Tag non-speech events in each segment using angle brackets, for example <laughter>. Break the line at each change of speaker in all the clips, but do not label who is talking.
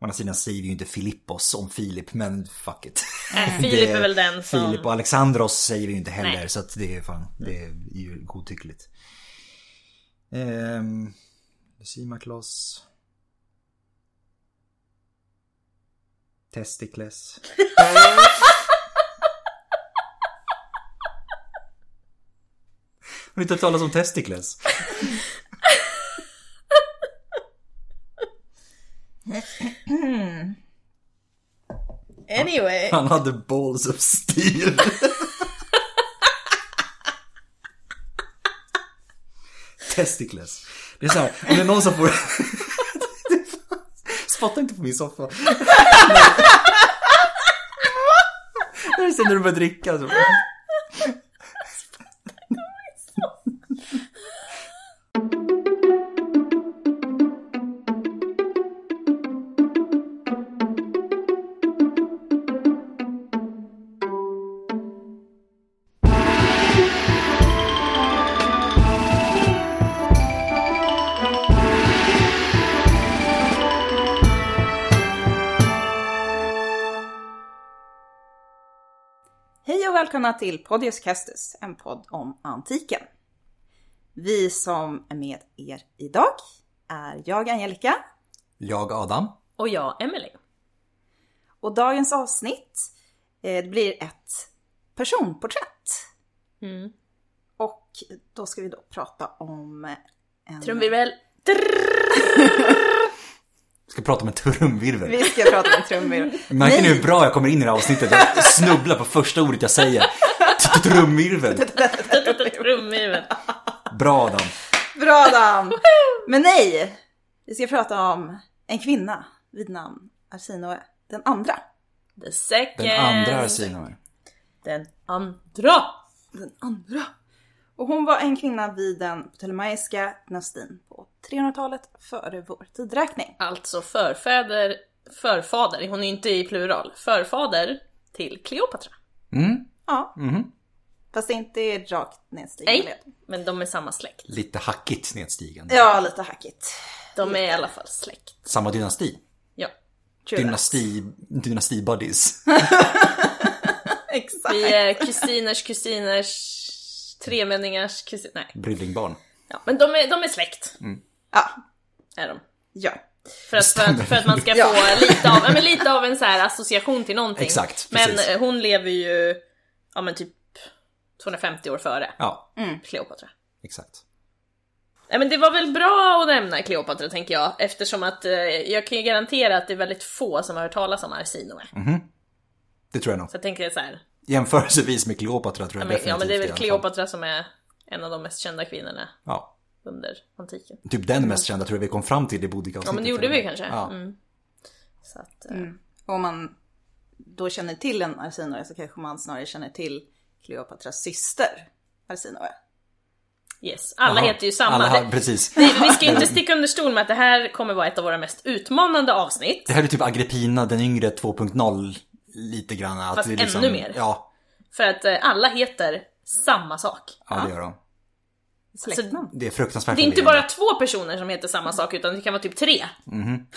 å andra sidan säger vi ju inte Filippos om Filip, men fuck it.
Nej, Filip är väl den
<laughs>
som...
Filip och Alexandros säger vi ju inte heller,
Nej.
så att det är fan, det är ju godtyckligt. Ehm, Lucima Kloss. Testicles. Har du inte hört talas om testicles?
Anyway.
Han hade balls of steel. Testicles. Det är så här, om det är någon som får... Spotta inte på min soffa. Det är som när du börjar dricka. Så.
Hej och välkomna till Podius Castus, en podd om antiken. Vi som är med er idag är jag, Angelica,
Jag Adam.
Och jag, Emily.
och dagens avsnitt eh, det blir ett personporträtt.
Mm.
Och då ska vi då prata om en...
Trumvirvel.
Ska prata om en trumvirvel.
Vi ska prata om en trumvirvel.
Märker ni hur bra jag kommer in i det här avsnittet? Jag snubblar på första ordet jag säger. Trumvirvel.
Trumvirvel.
Bra Adam.
Bra Adam! Men nej! Vi ska prata om en kvinna vid namn Arsinoe den andra.
The second.
Den andra har synor.
Den andra.
den andra. Och hon var en kvinna vid den ptolemaiska dynastin på 300-talet före vår tidräkning.
Alltså förfäder, förfader. Hon är ju inte i plural. Förfader till Kleopatra.
Mm,
Ja,
mhm.
fast det inte är rakt nedstigande
Nej,
led.
men de är samma släkt.
Lite hackigt snedstigande.
Ja, lite hackigt.
De är i alla fall släkt.
Samma dynasti.
Ja.
True
Dynasti,
<laughs>
dynastibuddies.
that. <laughs> Exakt.
Vi är kusiners kusiners tremänningars kusin... Nej.
Brillingbarn.
Ja, men de är, de är släkt.
Ja,
Är de.
ja.
För att, för att, för att man ska
Ja.
få lite av, ja, men lite av en så här association till någonting.
Exakt,
men
precis.
eh, hon lever ju, ja men typ 250 år före
<laughs> Ja,
Kleopatra.
exakt.
Nej men det var väl bra att nämna Kleopatra tänker jag, eftersom att eh, jag kan ju garantera att det är väldigt få som har hört talas om Arsinoe.
Mm. Det tror jag nog.
Så jag tänker så här,
Jämförelsevis med Kleopatra tror
ja
jag
men,
definitivt.
ja men det är
i
väl
alla fall.
Kleopatra som är en av de mest kända kvinnorna
Ja.
under antiken.
Typ den mest kända tror jag vi kom fram till i
Ja
Boudicca-avsnittet.
men det gjorde vi kanske.
Ja.
Mm. Så att, eh,
Och om man då känner till en Arsinoe så kanske man snarare känner till Kleopatras syster Arsinoe.
yes, alla
Jaha.
heter ju samma.
Alla,
Det-
har- precis.
Vi, vi ska inte sticka under stol med att det här kommer vara ett av våra mest utmanande avsnitt.
Det här är typ Agrippina den yngre 2.0 lite grann. Att
Fast
det är liksom,
ännu mer.
Ja,
För att eh, alla heter samma sak.
ja, det gör de.
Alltså,
Släktnamn.
Det är fruktansvärt
Det är inte bara
förvirrande.
två personer som heter samma sak utan det kan vara typ tre.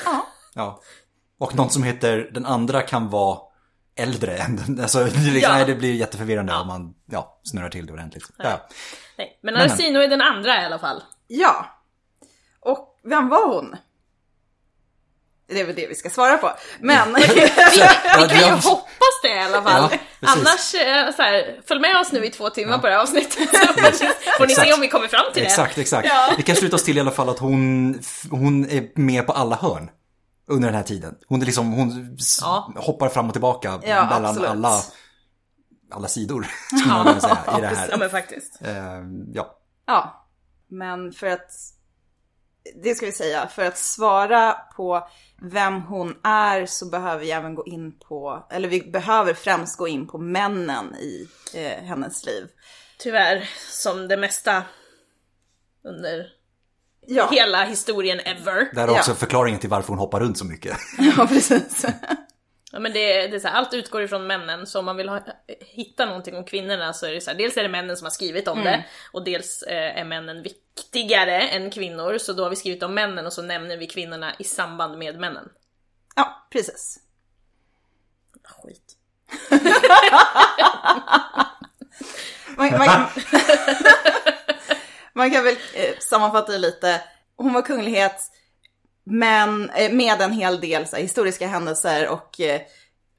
Ja.
Ja. Och någon som heter den andra kan vara äldre än den. Alltså, det, är liksom,
Ja.
nej, det blir jätteförvirrande om man ja, snurrar till det ordentligt. Ja.
Nej, men
Men,
Arsino är den andra i alla fall.
Ja. Och vem var hon? Det är väl det vi ska svara på. Men...
<laughs> Ja,
<laughs> Vi kan ju
jag-
hoppas det i alla fall.
Ja, precis.
Annars, eh, så här, följ med oss nu i två timmar på det
<laughs>
här avsnittet. Så får ni se
Exakt.
om vi kommer fram till det.
Exakt, exakt.
Ja.
Vi kan sluta oss till i alla fall att hon, hon är med på alla hörn under den här tiden. Hon, är liksom, hon s-
Ja.
hoppar fram och tillbaka
Ja,
mellan
absolut.
alla, alla sidor, <laughs> skulle man kunna säga, i det här.
Ja men faktiskt.
Ehm, ja.
Ja, men för att, det ska vi säga, för att svara på vem hon är så behöver vi även gå in på, eller vi behöver främst gå in på männen i eh, hennes liv.
Tyvärr, som det mesta under
Ja,
hela historien ever.
Där är också
Ja.
förklaringen till varför hon hoppar runt så mycket.
<laughs> ja precis.
Ja men det, det är så här, allt utgår ifrån männen, så om man vill ha, hitta någonting om kvinnorna så är det så här, dels är det männen som har skrivit om det, och dels eh, är männen viktigare än kvinnor, så då har vi skrivit om männen och så nämner vi kvinnorna i samband med männen.
Ja, precis.
Ah, Skit.
Man, man, man kan väl eh, sammanfatta det lite. Hon var kunglighet, men eh, med en hel del så här, historiska händelser och eh,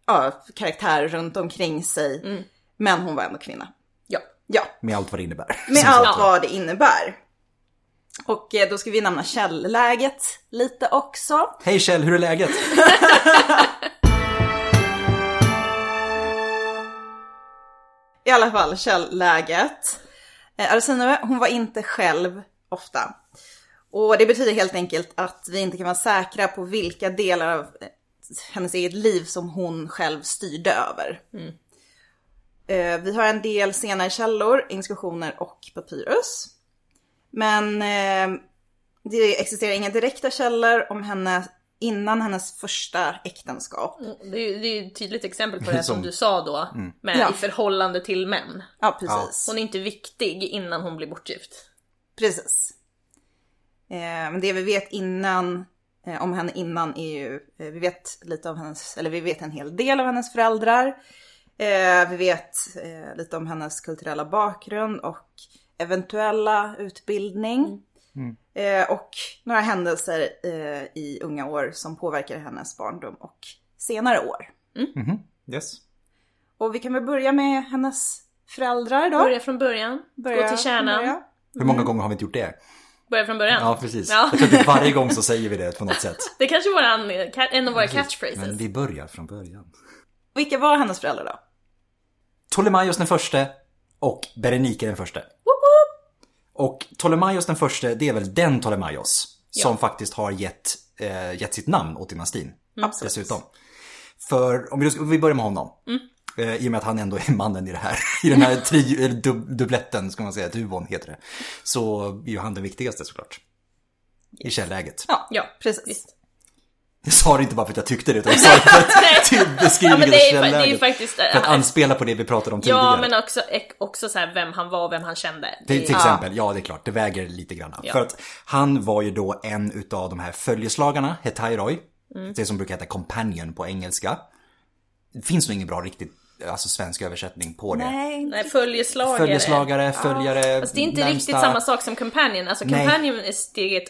ja, karaktär runt omkring sig. Men hon var ändå kvinna.
Ja.
Ja,
<laughs> Med allt vad det innebär.
med
Som
allt
sagt.
vad det innebär. Och eh, då ska vi nämna källläget lite också.
Hej Kjell, hur är läget?
I alla fall källläget. Eh, Arsinoe, hon var inte själv ofta. Och det betyder helt enkelt att vi inte kan vara säkra på vilka delar av eh, hennes eget liv som hon själv styrde över. Eh, Vi har en del senare källor, inskriptioner och papyrus. Men eh, det existerar inga direkta källor om henne innan hennes första äktenskap.
Det är, ju- det är ju ett tydligt exempel på det här som
Som- Mm.
du sa då, med
Ja.
i förhållande till män.
Ja, precis.
Hon är inte viktig innan hon blir bortgift.
Precis. Eh, Men det vi vet innan, eh, om henne innan är ju, eh, vi vet lite av hennes, eller vi vet en hel del av hennes föräldrar. Eh, Vi vet eh, lite om hennes kulturella bakgrund och eventuella
Mm.
utbildning. Eh, Och några händelser eh, i unga år som påverkar hennes barndom och senare år.
Yes.
Och vi kan väl börja med hennes föräldrar då.
Börja från början, gå till kärnan,
börja.
Hur många gånger har vi inte gjort det?
börja från början.
Ja, precis.
Ja.
Jag tror att varje gång så säger vi det på något sätt.
Det är kanske är våran, en av våra
Men
catchphrases.
vi börjar från början.
Vilka var hennes föräldrar då?
Ptolemaios den förste och Berenike den förste. Och Ptolemaios den förste, det är väl den Ptolemaios som faktiskt har gett, eh, gett sitt namn åt dynastin.
Mm.
Absolut.
Dessutom. För om vi, då ska- vi börjar med honom. Eh, I och med att han ändå är mannen i det här. <laughs> I den här tri, eller dub, dubbletten, ska man säga, duvon heter det. Så är ju han den viktigaste såklart. I källäget.
Ja,
Ja,
precis.
visst.
Jag sa det inte bara för att jag tyckte det, utan jag sa det
<laughs>
för att typ till
Ja,
beskrivningen
men
av
det är, ju fa- det är ju
källäget.
faktiskt...
För att anspela på det vi pratade om tidigare.
Ja, men också, också så här vem han var och vem han kände.
Till, till
Det-
exempel, ja det är klart, det väger lite grann. För att han var ju då en utav de här följeslagarna, Hetairoi.
Mm.
Det som brukar heta companion på engelska. Det finns nog ingen bra riktigt alltså, svensk översättning på det.
Nej,
Nej, följeslagare.
Följeslagare, följare,
Fast det är inte
närmsta-
riktigt samma sak som companion. Alltså
Nej.
companion är steget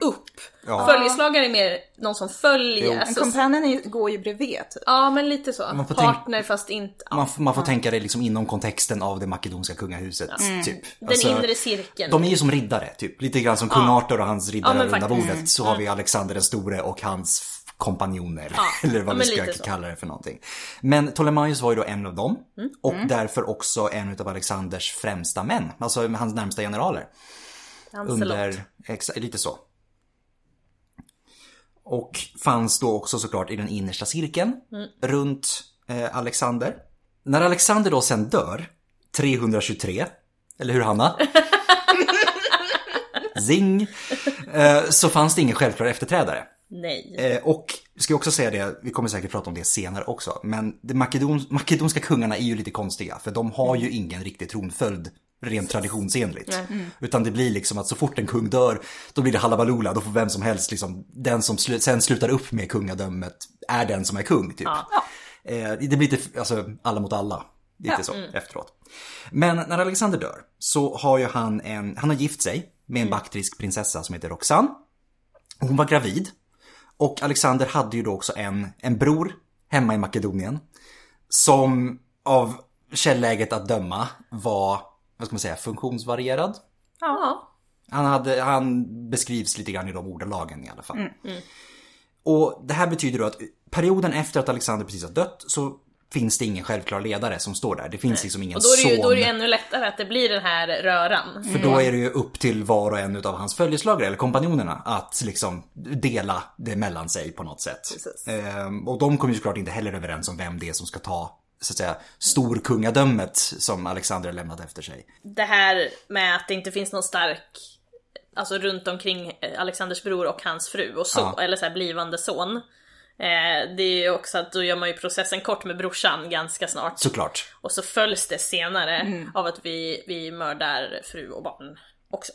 upp.
Ja.
Följeslagare är mer någon som
Jo.
följer.
En
En
Alltså,
companion är ju- går ju bredvid typ.
ja, men lite så.
Man får tänka-
Partner fast inte... Ja. Mm.
Man, f- man får tänka det liksom inom kontexten av det makedonska kungahuset, typ.
Den inre cirkeln.
De är ju som riddare, typ. Lite grann som kung Arthur och hans riddare
Ja, men
runda
faktiskt. Mm.
bordet. Så har vi Alexander den store och hans f- kompanjoner. <laughs> Eller vad
ja,
vi
men
ska
lite så.
kalla det för någonting. Men Ptolemaios var ju då en av dem.
Mm.
Och därför också en av Alexanders främsta män. Alltså hans närmsta generaler.
Lancelot.
Under, exa, lite så. Och fanns då också såklart i den innersta cirkeln runt eh, Alexander. När Alexander då sen dör, 323, eller hur Hanna? Zing! Eh, så fanns det ingen självklar efterträdare.
Nej.
Eh, och vi ska ju också säga det, vi kommer säkert prata om det senare också, men de makedon, makedonska kungarna är ju lite konstiga för de har ju ingen riktig tronföljd rent traditionsenligt. Utan det blir liksom att så fort en kung dör, då blir det halabaloola, då får vem som helst liksom, den som slu, sen slutar upp med kungadömet är den som är kung typ. Eh, det blir lite, alltså alla mot alla, lite så efteråt. Men när Alexander dör så har ju han en, han har gift sig med en baktrisk prinsessa som heter Roxanne. Hon var gravid och Alexander hade ju då också en, en bror hemma i Makedonien. Som av källäget att döma var, vad ska man säga, funktionsvarierad.
Ja.
Han, hade, han beskrivs lite grann i de ordalagen i alla fall.
Mm,
Och det här betyder då att perioden efter att Alexander precis har dött så finns det ingen självklar ledare som står där. Det finns liksom ingen
Och då är, det ju,
son.
då är det ju ännu lättare att det blir den här röran.
För då är det ju upp till var och en av hans följeslagare eller kompanjonerna att liksom dela det mellan sig på något sätt.
Precis.
Ehm, och de kommer ju såklart inte heller överens om vem det är som ska ta så att säga storkungadömet som Alexander har lämnat efter sig.
Det här med att det inte finns någon stark, alltså runt omkring eh, Alexanders bror och hans fru och så,
Ja.
eller så här blivande son. Eh, det är ju också att då gör man ju processen kort med brorsan ganska snart.
Såklart.
Och så följs det senare av att vi, vi mördar fru och barn också.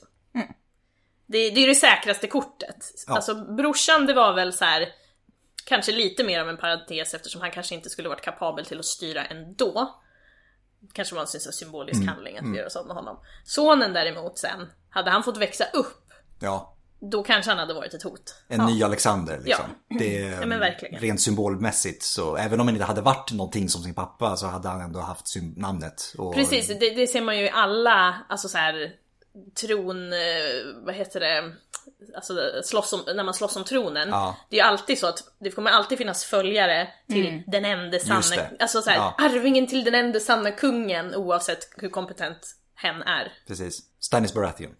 Det, det är ju det säkraste kortet. Alltså brorsan det var väl så här kanske lite mer av en parentes eftersom han kanske inte skulle varit kapabel till att styra ändå. Kanske var en sån symbolisk handling att vi gör oss av med honom. Sonen däremot sen, hade han fått växa upp,
Ja,
då kanske han hade varit ett hot.
en ny Alexander liksom.
<laughs>
Det är,
men verkligen.
Rent symbolmässigt så, även om han inte hade varit någonting som sin pappa så hade han ändå haft sym- namnet. Och,
Precis, det, det ser man ju i alla, alltså så här tron, eh, vad heter det, alltså slåss om, när man slåss om tronen.
Ja.
Det är ju alltid så att det kommer alltid finnas följare till den enda
Just
sanna,
det.
alltså så här,
Ja.
arvingen till den enda sanna kungen oavsett hur kompetent hen är.
Precis. Stannis Baratheon.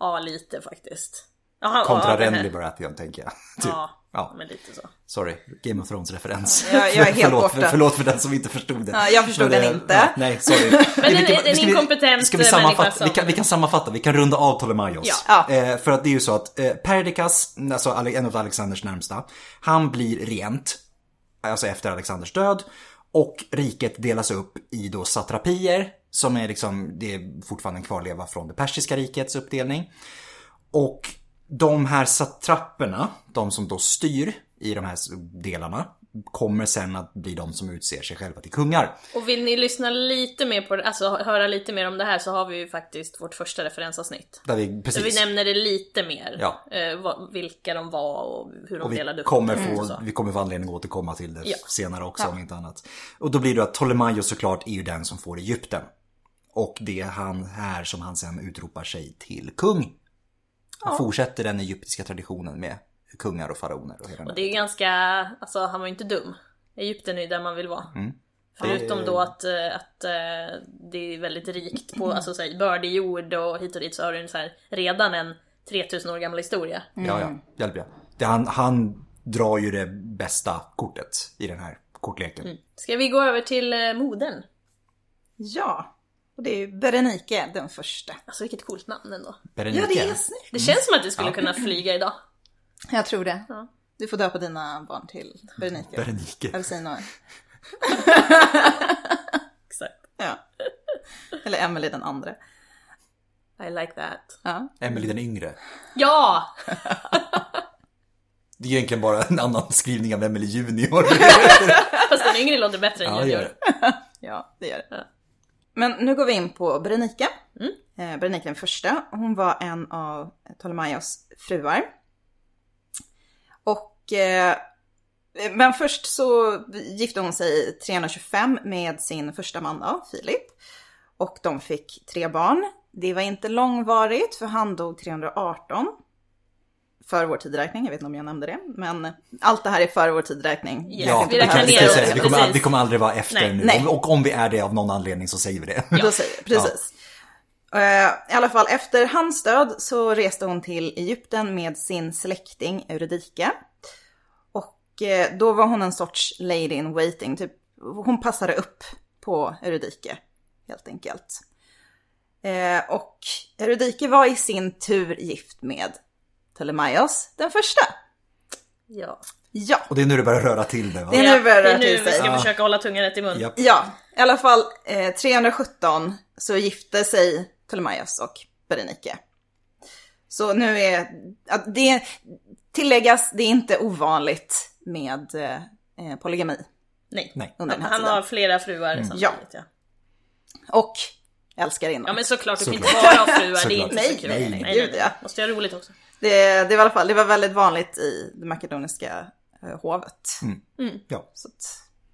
Ja, lite faktiskt. Aha,
Kontra
ja, den här-
Renly Baratheon tänker jag. <laughs> Typ.
Ja,
Ja.
men lite så.
Sorry, Game of Thrones-referens.
Ja, jag är helt
förlåt,
borta.
För, förlåt för den som inte förstod det.
Ja, jag förstod
Men,
den
eh,
inte.
ja, nej, sorry. Men
en- en inkompetent
ska vi,
människa
sammanfatta,
som-
vi, kan, vi kan sammanfatta, vi kan runda av Ptolemaios.
Ja.
Eh, för att det är ju så att eh, Perdiccas, alltså Ale- en av Alexanders närmsta, han blir regent, alltså efter Alexanders död. Och riket delas upp i då satrapier, som är liksom, det är fortfarande en kvarleva från det persiska rikets uppdelning. Och de här satrapperna, de som då styr i de här delarna, kommer sen att bli de som utser sig själva till kungar.
Och vill ni lyssna lite mer på det, alltså höra lite mer om det här så har vi ju faktiskt vårt första referensavsnitt.
Där vi,
Så
precis.
vi nämner det lite mer.
Ja.
Eh, vad, vilka de var och hur de
Och vi
delade upp
kommer,
dem Mm. och
få,
så.
vi kommer få anledning att återkomma till det
Ja.
senare också om inte annat. Och då blir det att Ptolemaios såklart är ju den som får Egypten. Och det är han här som han sen utropar sig till kung. Han fortsätter den egyptiska traditionen med kungar och faraoner. Och hela den
Och det är ju ganska, alltså han var ju inte dum. Egypten är ju där man vill vara.
Mm.
Förutom då att, eh, att eh, det är väldigt rikt på alltså, så här, bördig jord och hit och dit så har du en så här, redan en 3000 år gammal historia.
Ja, ja. Hjälp ja. Det, han, han drar ju det bästa kortet i den här kortleken.
Ska vi gå över till eh, moden?
Ja, och det är ju Berenike den första.
Alltså vilket coolt namn ändå.
Berenike.
snyggt.
Mm.
Det känns som att det skulle kunna flyga idag.
Jag tror det.
Ja.
Du får döpa dina barn till Berenike.
Berenike.
Alltså-
Eller säg <laughs> något.
Exakt.
Ja. Eller Emelie den andra.
I like that.
Ja.
Emily den yngre.
Ja! <laughs>
Det är ju egentligen bara en annan skrivning av Emily
<laughs>
junior.
Fast den yngre låter bättre än
ja, det gör
junior.
det.
Ja, det gör det.
Ja. Mm.
Men nu går vi in på Berenike. Eh, Berenike den första. Hon var en av Ptolemaios fruar. Och, eh, men först så gifte hon sig 325 med sin första man då, Filip. Och de fick tre barn. Det var inte långvarigt för han dog 318. För vår tideräkning, jag vet inte om jag nämnde det. Men allt det här är före vår tideräkning.
Ja,
Ja,
vi
vi,
räknar
kan, vi,
ner
kan
oss,
säga, vi, kommer,
precis.
ald- vi kommer aldrig vara efter
Nej.
nu.
Nej.
Om- Och om vi är det av någon anledning så säger vi det.
Då säger, precis. Eh, I alla fall efter hans död så reste hon till Egypten med sin släkting Eurydike. Och eh, då var hon en sorts lady in waiting, typ hon passade upp på Eurydike helt enkelt. Eh, Och Eurydike var i sin tur gift med Ptolemaios den första.
Ja.
Ja,
Och det är nu det börjar röra till det. Va?
det är nu det börjar
det är
röra
nu vi
till sig.
ska försöka hålla tungan rätt i mun.
Japp.
Ja, i alla fall eh, 317 så gifte sig Ptolemaios och Berenike. Så nu är, att det tilläggas, det är inte ovanligt med eh, eh, polygami.
Nej.
Nej. Mm.
Under
Han,
den här
han
tiden.
har flera fruar samtidigt ja.
Och älskarinnor.
Ja men såklart, du kan
Såklart.
inte bara ha fruar, det är
Såklart.
inte
Nej,
så kul.
nej, nej,
gud, ja.
Måste jag ha roligt också.
det, det var i alla fall, det var väldigt vanligt i det makedoniska eh, hovet.
Ja.
Så att,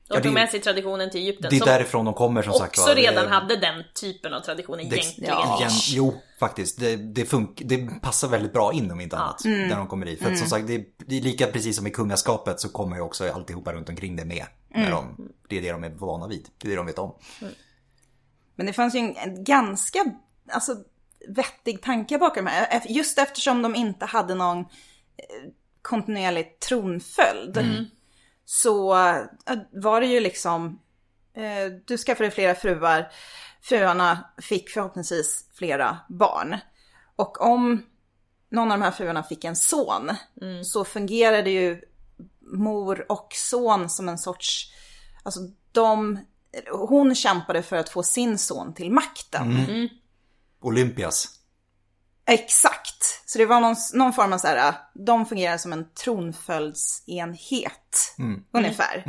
De
Ja, det-
tog med sig traditionen till Egypten
Det är
som
därifrån de kommer som sagt
också
va? Det-
redan hade den typen av tradition
det,
egentligen.
Ja.
igen, Jo, faktiskt. Det, det, funkar, det passar väldigt bra in om inte annat.
Mm.
Där de kommer dit. För att, som sagt, det är, det är lika precis som i kungaskapet så kommer ju också alltihopa runt omkring det med.
Mm.
När de, det är det de är vana vid. Det är det de vet om.
Men det fanns ju en, en ganska alltså, vettig tanke bakom det här. Ef- Just eftersom de inte hade någon eh, kontinuerlig tronföljd. Så eh, var det ju liksom, eh, du skaffade flera fruar, fruarna fick förhoppningsvis flera barn. Och om någon av de här fruarna fick en son så fungerade ju mor och son som en sorts, alltså de, hon kämpade för att få sin son till makten.
Olympias.
Exakt. Så det var någon, någon form av så här, äh, de fungerar som en tronföljdsenhet ungefär.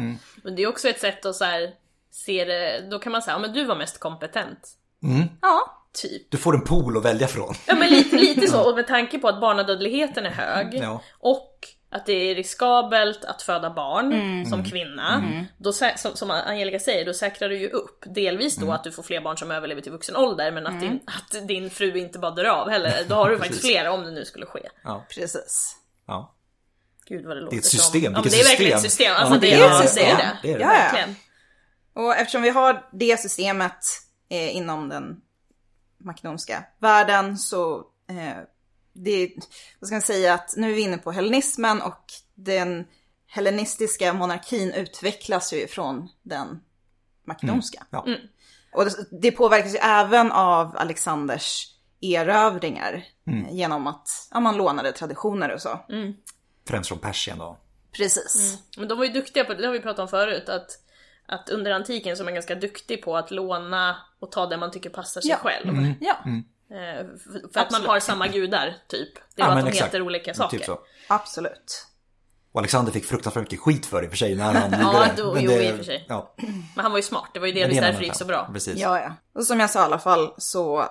Men det är också ett sätt att så här, se det, då kan man säga, ja men du var mest kompetent.
Mm.
Ja,
Typ.
Du får en pool att välja från.
Ja men lite, lite
<laughs>
så, och med tanke på att barnadödligheten är hög
Ja.
och att det är riskabelt att föda barn
Mm.
som kvinna. Då, sä- som, som Angelica säger, då säkrar du ju upp. Delvis
Mm.
då att du får fler barn som överlever till vuxen ålder men att, din, att din fru inte bara dör av heller.
<laughs>
Då har du faktiskt
Precis.
fler om det nu skulle ske.
precis.
ja.
Gud vad det låter
Det är ett
som-
system.
Ja, men
Vilket
det är verkligen ett
system.
system.
Ja,
Alltså,
men
det, är, ett system. det är det.
det är det.
Ja, ja.
Verkligen.
Och eftersom vi har det systemet eh, inom den makedonska världen så eh, det, vad ska man säga att nu är vi inne på hellenismen och den hellenistiska monarkin utvecklas ju från den makedonska.
Ja.
Och det- det påverkas ju även av Alexanders erövringar eh, genom att ja, man lånade traditioner och så.
Främst från Persien då.
Precis.
Men de var ju duktiga på, det har vi pratat om förut, att, att under antiken så är man ganska duktig på att låna och ta det man tycker passar sig
Ja.
själv.
Mm.
Ja,
Eh, För, för att man har samma gudar, typ. Det är
Ja,
bara
men
att de
exakt.
heter olika saker.
Typ så.
absolut.
Och Alexander fick fruktansvärt mycket skit för det i och för sig
<laughs>
när han gjorde det.
då-
Men
jo,
det-
i och för sig.
Ja, men
Men han var ju smart, det var ju
det är en
delvis
annan
därför det gick så
femma.
bra.
Precis.
Ja, ja. Och som jag sa i alla fall så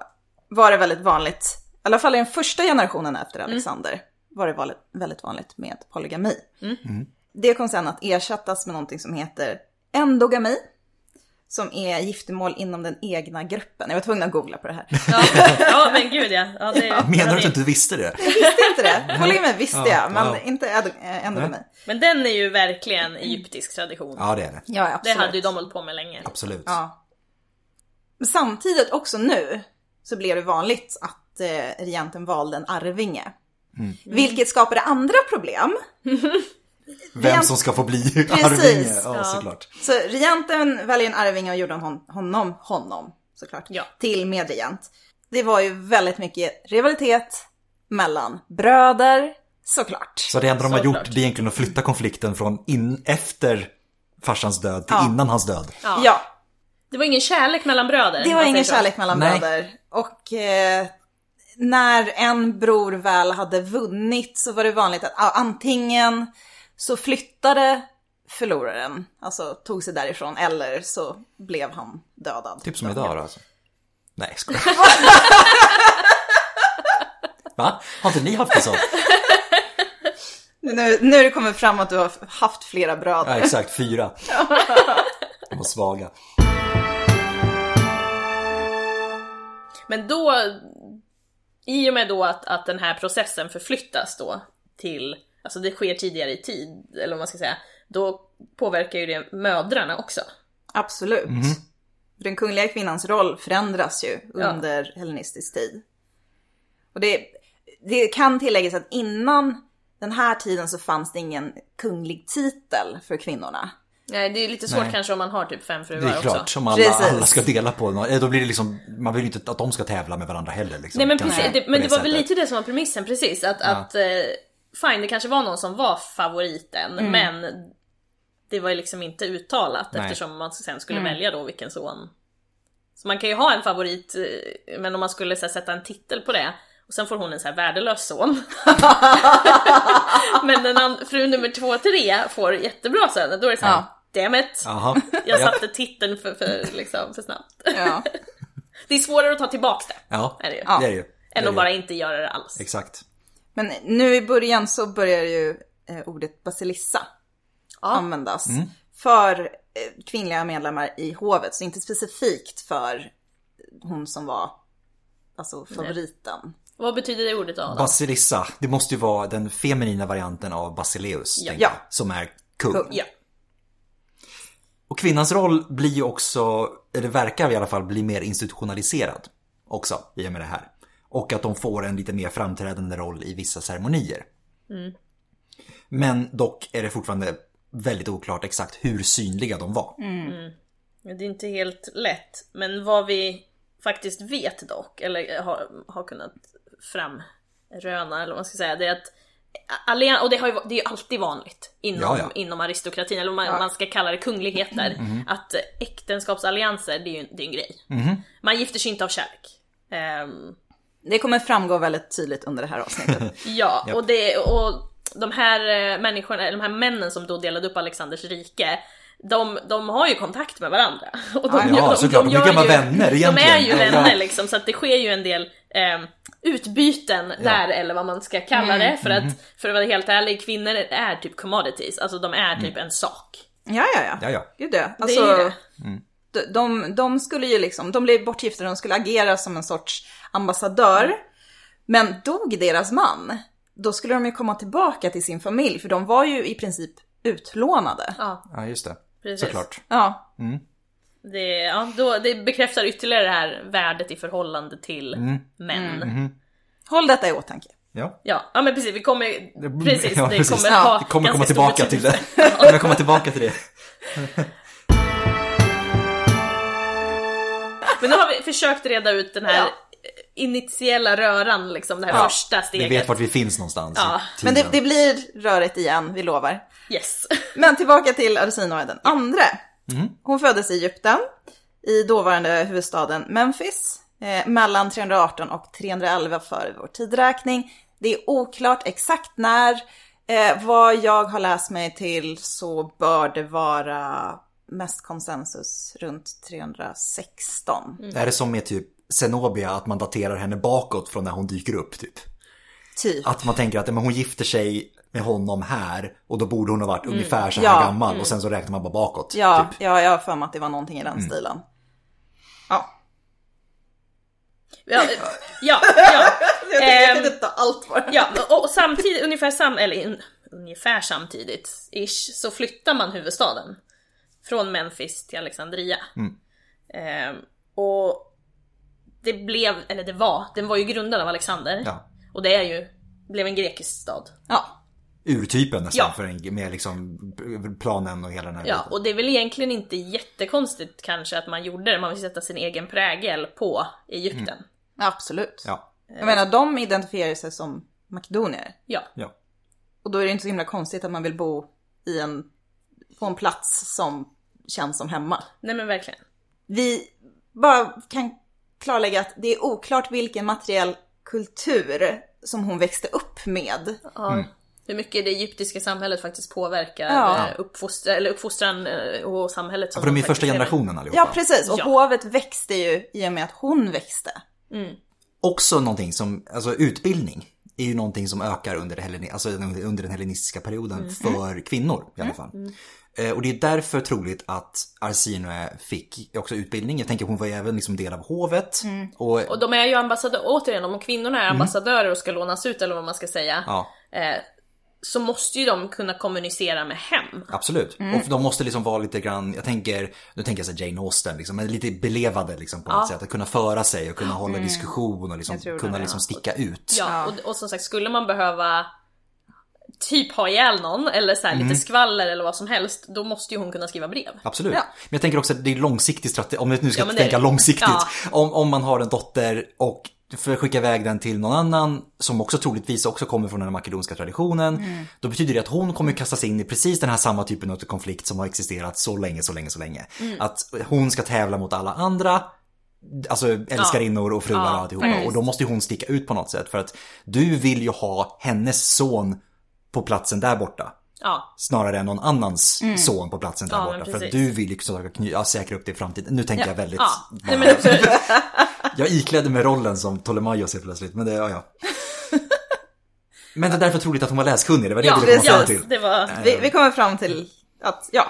var det väldigt vanligt, i alla fall i den första generationen efter
Mm.
Alexander, var det vali- väldigt vanligt med polygami.
Mm.
Mm.
Det kom sen att ersättas med någonting som heter endogami, som är giftermål inom den egna gruppen. Jag var tvungen att googla på det här. Jag
Ja, ja <laughs> men gud ja. ja, det,
<laughs> Menar du att
det,
du inte visste det?
visste
<laughs>
inte det. Polygami visste
Ja,
jag, men
ja.
inte ed- eh, endogami.
Men den är ju verkligen egyptisk tradition.
Mm. Ja, det är det.
Ja,
det
absolut.
hade ju de hållit på med länge.
Absolut.
Ja. Men samtidigt också nu så blev det vanligt att eh, regenten valde en arvinge. Vilket skapade andra problem.
Vem som ska få bli arvinge. Ja,
ja.
såklart.
Så regenten väljer en arvinge och gjorde hon, honom, honom såklart,
Ja.
till medregent. Det var ju väldigt mycket rivalitet mellan bröder såklart.
Så det enda de har gjort
Såklart.
det är egentligen att flytta konflikten från in, efter farsans död till
Ja.
innan hans död.
Ja.
ja,
Det var ingen kärlek mellan bröder.
Det
om
var
man säger
ingen
så.
kärlek mellan
Nej.
bröder. Och eh, när en bror väl hade vunnit så var det vanligt att ah, antingen så flyttade förloraren, alltså tog sig därifrån, eller så blev han dödad.
Typ som idag då alltså. Nej, jag
<laughs>
skojar. Va? Har inte ni haft det så?
Nu, nu det kommer fram att du har haft flera bröder.
Ja, exakt.
<laughs>
Fyra. De var svaga.
Men då, i och med då att, att den här processen förflyttas då till, alltså det sker tidigare i tid, eller vad man ska säga, då påverkar ju det mödrarna också.
Absolut. Den kungliga kvinnans roll förändras ju under hellenistisk tid. Och det, det kan tilläggas att innan den här tiden så fanns det ingen kunglig titel för kvinnorna.
Nej, det är ju lite svårt
Nej.
kanske om man har typ fem
Det
fruar
är klart,
också.
som alla,
Precis.
alla ska dela på. nå- eh, Då blir det liksom, man vill ju inte att de ska tävla med varandra heller. Liksom,
Nej men
kanske,
precis,
på
det, men det var väl
sättet.
lite det som var premissen precis, att, att eh, fine det kanske var någon som var favoriten, men det var ju liksom inte uttalat
Mm. Nej. Mm.
eftersom man sen skulle välja då vilken son. Så man kan ju ha en favorit, eh, men om man skulle så här, sätta en titel på det, och sen får hon en så här värdelös son. <laughs> men den an- fru nummer två, tre får jättebra söner, då är det såhär,
Ja.
damn it,
Jaha.
<laughs> jag
Ja.
satte titeln för, för, liksom, för snabbt.
Ja.
Det är svårare att ta tillbaka det.
Ja,
Är det ju.
det är det ju. Det är
Än
det
att
ju.
bara inte göra det alls.
Exakt.
Men nu i början så börjar ju eh, ordet basilissa
Ja.
användas för eh, kvinnliga medlemmar i hovet, så inte specifikt för hon som var alltså favoriten.
Vad betyder det ordet då? Adam?
Basilissa, det måste ju vara den feminina varianten av Basileus, tänker
Ja.
jag, som är kung.
Kung.
Ja.
Och kvinnans roll blir ju också, eller verkar i alla fall bli mer institutionaliserad också i och med det här. Och att de får en lite mer framträdande roll i vissa ceremonier.
Mm.
Men dock är det fortfarande väldigt oklart exakt hur synliga de var.
Mm. Det är inte helt lätt, men vad vi faktiskt vet dock, eller har, har kunnat framröna, eller vad man ska säga, det är att Allian, och det, har ju, det är ju alltid vanligt inom,
Ja, Mm. ja.
inom aristokratin, eller om man, om man ska kalla det kungligheter, att
Mm.
äktenskapsallianser, det är ju det är en grej. Man gifter sig inte av kärlek. Ehm,
Det kommer framgå väldigt tydligt under det här avsnittet.
Ja, och, det, och de här eh, människorna, eller de här männen som då delade upp Alexanders rike, de, de har ju kontakt med varandra. <laughs> Och de,
Ja, såklart. De är
gör
gamla
ju-
vänner
De
egentligen.
är ju
Ja.
vänner liksom, så att det sker ju en del eh, utbyten där, eller vad man ska kalla det. För
Mhm.
att, för att vara helt ärlig, kvinnor är typ commodities, alltså de är
Mm.
typ en sak.
Ja, ja, ja.
Ja, ja.
Gud ja.
är ju
Alltså,
det.
de, de, de skulle ju liksom, de blev bortgifta, de skulle agera som en sorts ambassadör.
Mm.
Men dog deras man, då skulle de ju komma tillbaka till sin familj, för de var ju i princip utlånade.
Ja,
Ja, just det.
precis.
Såklart.
Ja,
Det, ja, då, det bekräftar ytterligare det här värdet i förhållande till
Mm.
män.
håll detta i åtanke.
Ja.
Ja, ja, men precis, vi kommer,
<laughs>
precis,
Ja,
det
precis.
kommer
Ja,
ha
Det kommer
ganska
komma
stor
tillbaka till
betydelse.
det.
<laughs>
Det kommer komma tillbaka till det.
Men nu har vi försökt reda ut den här
Ja.
initiella röran, liksom det här första
Vi
steget.
vet vart vi finns någonstans
Ja.
i
Men
tiden.
det, det blir rörigt igen, vi lovar.
Yes. <laughs>
Men tillbaka till Arsinoe den andra. Hon föddes i Egypten, i dåvarande huvudstaden Memphis, eh, mellan 318 och 311 före vår tidräkning. Det är oklart exakt när. Eh, vad jag har läst mig till så bör det vara mest konsensus runt 316.
Är det som med typ Zenobia, att man daterar henne bakåt från när hon dyker upp typ?
Typ.
Att man tänker att men hon gifter sig med honom här och då borde hon ha varit ungefär så här
Ja.
gammal och sen så räknar man bara bakåt.
Ja,
Typ.
ja, jag har för mig att det var någonting i den stilen. Ja.
Ja, eh, ja, ja.
Jag tänkte, jag
Ehm,
kunde ta allt bara.
ja. Och, och samtidigt, ungefär, sam, eller, in, ungefär samtidigt ish, så flyttar man huvudstaden. Från Memphis till Alexandria.
Mm.
Ehm, och det blev, eller det var, den var ju grundad av Alexander.
Ja.
Och det är ju, blev en grekisk stad.
Ja.
Urtypen nästan
Ja.
för en, med liksom planen och hela den här
Ja,
biten.
och det är väl egentligen inte jättekonstigt kanske att man gjorde det, man vill sätta sin egen prägel på Egypten.
Mm.
Absolut.
Ja.
Jag menar, de identifierar sig som makedonier.
Ja.
ja.
Och då är det inte så himla konstigt att man vill bo i en, på en plats som känns som hemma.
Nej men verkligen.
Vi bara kan klarlägga att det är oklart vilken materiell kultur som hon växte upp med.
Ja.
Mm.
Hur mycket det egyptiska samhället faktiskt påverkar
Ja.
ja. uppfostran, eller uppfostran eh, och samhället som
För de är
faktiskt
första
lever.
generationen allihopa.
Ja, precis. Och
Ja.
hovet växte ju i och med att hon växte.
Också någonting som, alltså utbildning är ju någonting som ökar under, det helleni- alltså under den hellenistiska perioden för kvinnor i alla fall. Eh, Och det är därför troligt att Arsinoe fick också utbildning. Jag tänker hon var ju även liksom del av hovet. Och,
Och de är ju ambassadörer, återigen om kvinnorna är ambassadörer och ska lånas ut eller vad man ska säga.
Mm. ja,
Eh, så måste ju de kunna kommunicera med hem.
absolut.
Mm.
Och de måste liksom vara lite grann, jag tänker, nu tänker jag så här Jane Austen, liksom, men lite belevade liksom på något sätt. Att kunna föra sig och kunna hålla diskussion och liksom,
Mm. Jag tror
kunna
det,
liksom sticka ut.
Ja, och, och som sagt, skulle man behöva typ ha ihjäl någon eller så här
Mm.
lite skvaller eller vad som helst, då måste ju hon kunna skriva brev.
Absolut.
Ja.
Men jag tänker också att det är långsiktig strategi, om vi nu ska
Ja, men det är
tänka
det.
långsiktigt.
Ja.
Om, om man har en dotter och för att skicka iväg den till någon annan som också troligtvis också kommer från den makedonska traditionen.
Mm.
Då betyder det att hon kommer kastas in i precis den här samma typen av konflikt som har existerat så länge, så länge, så länge.
Mm.
Att hon ska tävla mot alla andra, alltså älskarinnor och fruar och
Ja, Mm.
alltihopa. Och då måste ju hon sticka ut på något sätt för att du vill ju ha hennes son på platsen där borta
Ja,
snarare än någon annans son på platsen där
Mm. Ja, men
borta. För att
precis.
du vill ju försöka kny- ja, säkra upp det i framtiden. Nu tänker jag väldigt...
ja.
bara-
Nej, men
<laughs>
absolut.
Jag iklädde mig rollen som Ptolemaios helt plötsligt, men det, ja,
<laughs>
ja. Men det är därför troligt att hon var läskunnig, det var det
Ja,
du kom fram
ja,
till.
det var...
Vi, vi kommer fram till att, ja,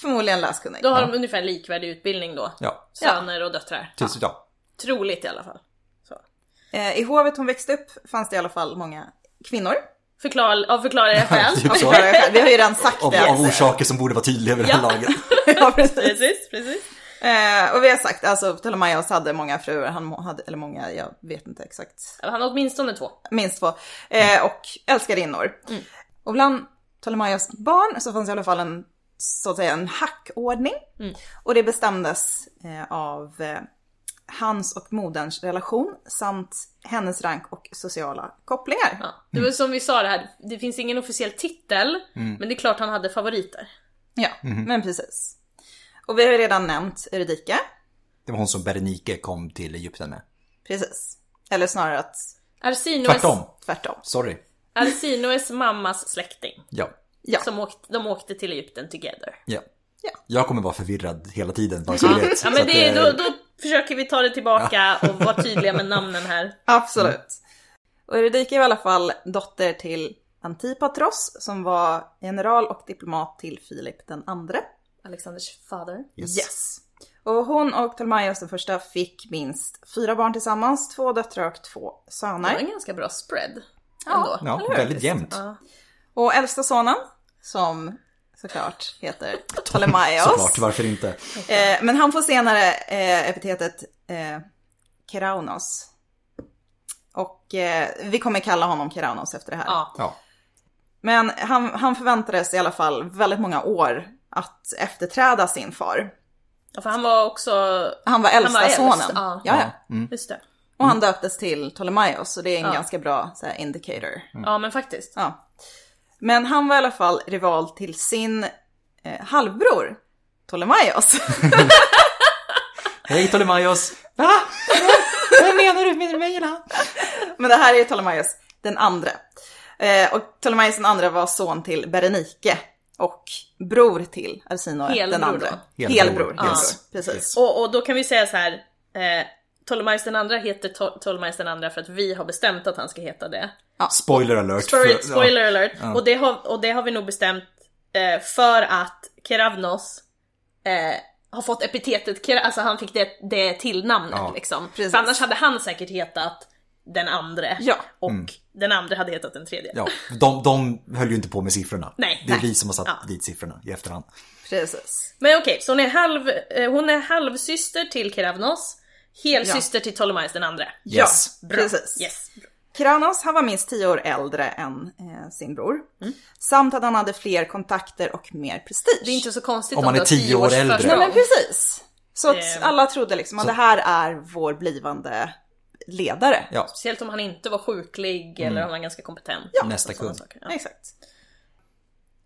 förmodligen läskunnig.
Då har de ungefär likvärdig utbildning då.
Ja,
Söner och döttrar.
typ, ja.
Troligt i alla fall. Så.
Eh, I hovet hon växte upp fanns det i alla fall många kvinnor.
Förklar, av
<laughs>
förklarliga skäl.
Typ så.
Vi har ju redan sagt
Av,
det.
av orsaker som borde vara tydliga vid det här
Ja.
laget.
Ja, precis.
<laughs> precis, precis.
Eh, och vi har sagt, alltså Ptolemaios hade många fruar, han må- hade, eller många, jag vet inte exakt,
Han har åtminstone två.
minst två, eh, och älskarinnor. Och bland Ptolemaios barn så fanns i alla fall en, så att säga, en hackordning. Och det bestämdes eh, av eh, hans och moderns relation samt hennes rank och sociala kopplingar.
Ja. Det var som vi sa det här, det finns ingen officiell titel,
Mm.
men det är klart han hade favoriter.
Ja, men precis. Och vi har ju redan nämnt Eurydike,
Det var hon som Berenike kom till Egypten med.
precis. Eller snarare att
Arsinoes,
Tvärtom.
tvärtom.
Sorry.
Arsinoes mammas släkting.
Ja.
Ja.
Som åkte, de åkte till Egypten together.
Ja.
Ja.
Jag kommer vara förvirrad hela tiden, bara så ni vet.
Ja
Så
men
att,
det, är-
eh,
då, då försöker vi ta det tillbaka och vara tydliga med namnen här.
Absolut. Och Eurydike var i alla fall dotter till Antipatros som var general och diplomat till Filip den andre.
Alexanders father.
Yes.
Och hon och Ptolemaios den första fick minst fyra barn tillsammans, två döttrar och två
Det var
söner.
en ganska bra spread.
Ja.
Ändå.
Ja, väldigt jämnt.
Ja.
Och äldsta sonen, som såklart
<laughs>
heter Ptolemaios.
Såklart, varför inte?
Eh, men han får senare eh, epitetet eh, Keraunos. Och eh, vi kommer kalla honom Keraunos efter det här.
Ja.
Ja.
Men han, han förväntades i alla fall väldigt många år att efterträda sin far.
Ja, för han var också,
Han var äldsta
var äldst,
sonen.
ja.
ja.
Mm.
just det.
Och han döptes till Ptolemaios, så det är en
Ja.
ganska bra så här, indicator.
Mm.
Ja men faktiskt.
Ja. Men han var i alla fall rival till sin eh, halvbror, Ptolemaios.
Hej Ptolemaios!
Va? Vad menar du med Mejerna? <laughs> Men det här är Ptolemaios den andre. Eh, och Ptolemaios den andra var son till Berenike och bror till Arsinoe den
Helbror
andre.
då.
Helbror,
Helbror,
ja.
helbror, precis.
Yes.
Och, och då kan vi säga så här. Eh, Ptolemaios den andra heter Pto- Ptolemaios den andra för att vi har bestämt att han ska heta det.
Spoiler alert.
Spoiler,
för-
spoiler alert. Och, det har, och det har vi nog bestämt eh, för att Keravnos eh, har fått epitetet, Kera- alltså han fick det, det tillnamnet
Ja,
liksom.
precis.
För annars hade han säkert hetat den andre
Ja.
och den andra hade hetat den tredje.
Mm. Ja, ja. De, de höll ju inte på med siffrorna.
Nej.
det är
Nej.
vi som har satt
Ja.
dit siffrorna i efterhand.
Precis.
Men okej, så hon är, halv, eh, hon är halvsyster till Keravnos, helsyster till Ptolemaios den andra.
Yes.
Ja,
Bra.
precis.
Yes.
Kranos, han var minst tio år äldre än eh, sin bror. Samt att han hade fler kontakter och mer prestige.
Mm. Det är inte så konstigt
Om man
det
är
var
tio år äldre.
försprång.
Nej men precis. Så att
Eh.
alla trodde liksom att
Så-
det här är vår blivande ledare.
Ja,
Speciellt om han inte var sjuklig eller om han var ganska kompetent.
Mm. nästa
och sådana
kung.
saker.
Ja, Exakt.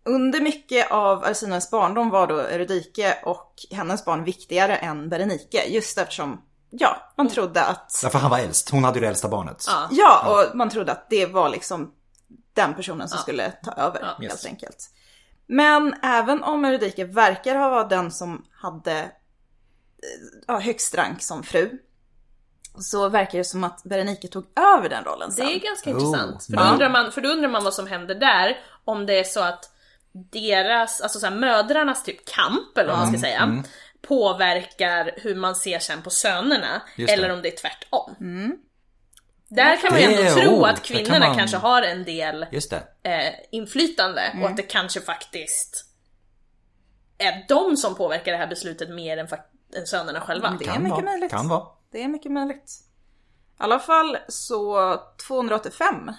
Under mycket av Arsinoes barndom var då Eurydike och hennes barn viktigare än Berenike. Just eftersom, ja, man
Mm.
trodde att,
Därför han var äldst. Hon hade ju det äldsta barnet.
Ja.
ja, och man trodde att det var liksom den personen som skulle ta över
Ja.
helt
Yes.
enkelt. Men även om Eurydike verkar ha varit den som hade eh, ja, högst rank som fru, så verkar det som att Berenike tog över den rollen
Det
sen.
är ganska
Oh,
intressant. För då,
ja.
undrar man, för då undrar man vad som händer där, om det är så att deras, alltså så här, mödrarnas typ kamp, eller vad
Mm,
man ska säga, påverkar hur man ser sen på sönerna,
Just det.
eller om det är tvärtom. Där kan man ju
Det-
ändå tro
oh,
att
där kan
kvinnorna
man-
kanske har en del
Just det.
eh, inflytande och att det kanske faktiskt är de som påverkar det här beslutet mer än, fak- än sönerna själva.
Det är
Kan
mycket
vara.
möjligt.
Kan vara.
Det är mycket möjligt. I alla fall så 285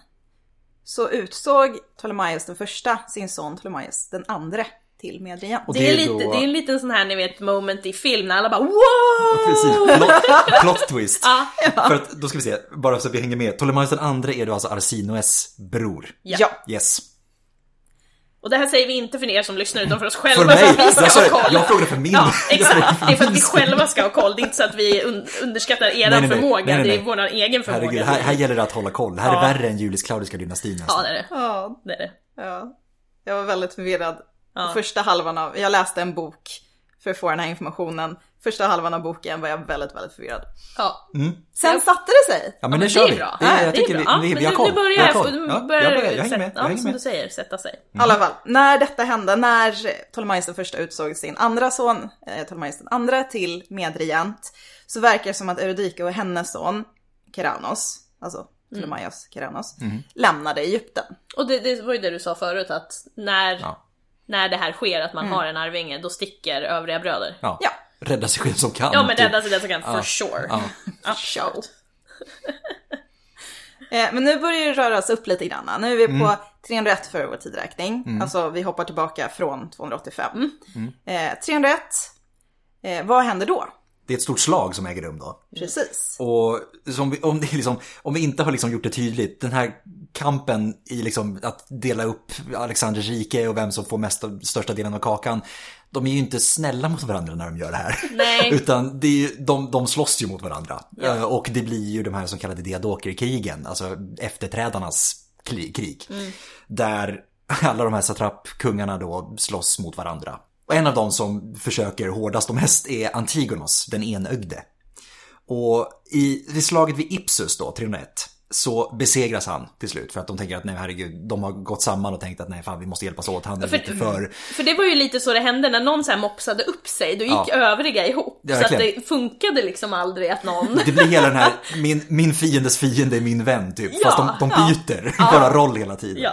så utsåg Ptolemaios den första sin son Ptolemaios den andre till medregent.
Och
Det är,
det är
lite,
då-
det är en liten sån här ni vet moment i film när alla bara wow!
Precis, plot, plot twist.
Ja.
<laughs> För att, då ska vi se, bara så att vi hänger med. Ptolemaios den andra är då alltså Arsinoes bror.
Ja.
Ja,
Yes.
Och det här säger vi inte för er som lyssnar utan för oss själva
För mig!
<laughs>
Alltså,
för att vi
Jag,
ska ha
sa-
koll.
jag frågade för min.
Ja, exakt. Det är för att vi själva ska ha koll. Det är inte så att vi un- underskattar
Nej,
er
nej, nej.
förmåga,
Nej, nej,
det
nej.
är vår egen förmåga.
Herregud, här, här gäller det att hålla koll. Det här är värre än Julius-Claudiska dynastin nästan.
Ja, det är det.
ja,
det, är det.
ja. Jag var väldigt förvirrad.
Ja.
Första halvan av, jag läste en bok för att få den här informationen. Första halvan av boken var jag väldigt, väldigt förvirrad.
Ja.
Sen satte det sig.
Ja, mm. men nu
det
kör
är
vi.
bra.
Mm, Det, är-
Ja,
jag tycker vi,
bra.
vi,
Ja,
vi har
men
koll.
Nu börjar,
vi har koll.
nu
Ja,
börjar
jag, börjar, jag hänger med.
sätta,
Jag hänger
som du
med.
säger, sätta sig.
I alla fall, när detta hände, när eh, Ptolemaios den första utsåg sin andra son, eh, Ptolemaios den andra, till medregent, så verkar det som att Eurydike och hennes son, Keranos,
Mm.
alltså Ptolemaios Keranos, lämnade Egypten.
Och det, det var ju det du sa förut att när,
Ja. Mm.
när det här sker, att man har en arvinge, då sticker övriga bröder.
Ja.
Ja.
Rädda sig själv som kan.
Ja men alltså,
typ.
rädda sig den som kan, for sure.
Ja.
<laughs> Absolut.
Eh, men nu börjar det röra sig upp lite grann. Nu är vi
Mm.
på 301 för vår tidräkning. Alltså vi hoppar tillbaka från 285.
Mm.
Eh, 301, eh, vad händer då?
Det är ett stort slag som äger rum då.
Precis.
Och som vi, om, det är liksom, om vi inte har liksom gjort det tydligt, den här kampen i liksom att dela upp Alexanders rike och vem som får mest, största delen av kakan, de är ju inte snälla mot varandra när de gör det här.
Nej,
<laughs> Utan det är ju, de, de slåss ju mot varandra. Eh, Och det blir ju de här så kallade diadokerkrigen, alltså efterträdarnas kli- krig. Där alla de här satrapkungarna då slåss mot varandra. Och en av dem som försöker hårdast och mest är Antigonos, den enögde. Och i, vid slaget vid Ipsus då, 301, så besegras han till slut. För att de tänker att nej herregud, de har gått samman och tänkt att nej fan vi måste hjälpas åt, han är
För-
lite för...
för det var ju lite så det hände när någon så här mopsade upp sig, då gick
Ja.
övriga ihop.
Ja,
så att
verkligen.
det funkade liksom aldrig att någon...
Det blir hela den här, min, min fiendes fiende är min vän typ.
Ja,
Fast de, de
ja.
byter bara roll hela tiden.
ja.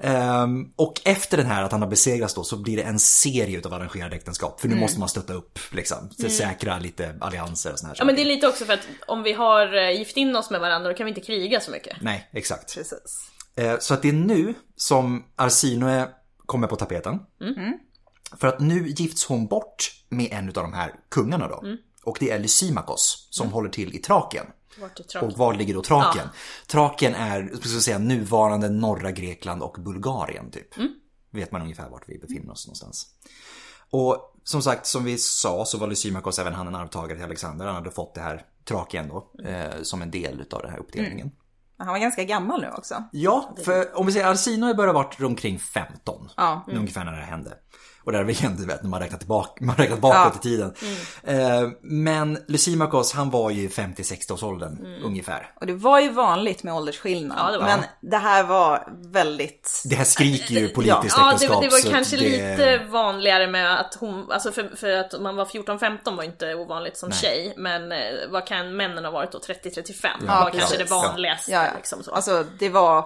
Ehm, och efter den här att han har besegrats då så blir det en serie utav arrangerade äktenskap.
Mm.
För nu måste man stötta upp liksom. Så Säkra lite allianser och såna här
ja, men det är lite också för att om vi har eh, gift in oss med varandra då kan vi inte kriga så mycket.
Nej, exakt.
Precis.
Eh, Så att det är nu som Arsinoe kommer på tapeten. För att nu gifts hon bort med en utav de här kungarna då. Och det är Lysimakos som håller till i Traken.
Vart är
Och
tråkigt.
var ligger då Traken? Traken är, ska vi säga, nuvarande norra Grekland och Bulgarien typ. Vet man ungefär vart vi befinner oss någonstans. Och som sagt, som vi sa så var Lysimakos även han en arvtagare till Alexander. Han hade fått det här Traken då, eh, som en del utav den här uppdelningen.
Men Han var ganska gammal nu också.
Ja, för om vi säger Arsinoe börjar varit runt omkring 15.
Ja.
Mm.
Ungefär när det här hände. Och där är väl igen, du vet, när man räknar, tillbaka, <laughs> man räknar bakåt i tiden.
Mm.
Eh, men Lysimakos, han var ju i 50-60-årsåldern
Mm.
ungefär.
Och det var ju vanligt med åldersskillnad.
Ja, det var-
men det här var väldigt...
Det här skriker ju politiskt
Ja, det,
äktenskap.
det var
så
kanske
det-
lite vanligare med att hon, alltså för, för att man var 14-15 var inte ovanligt som tjej, men eh, vad kan männen ha varit då, 30-35 var
precis.
kanske det
Ja.
vanligaste
Ja, ja.
liksom så.
Alltså det var...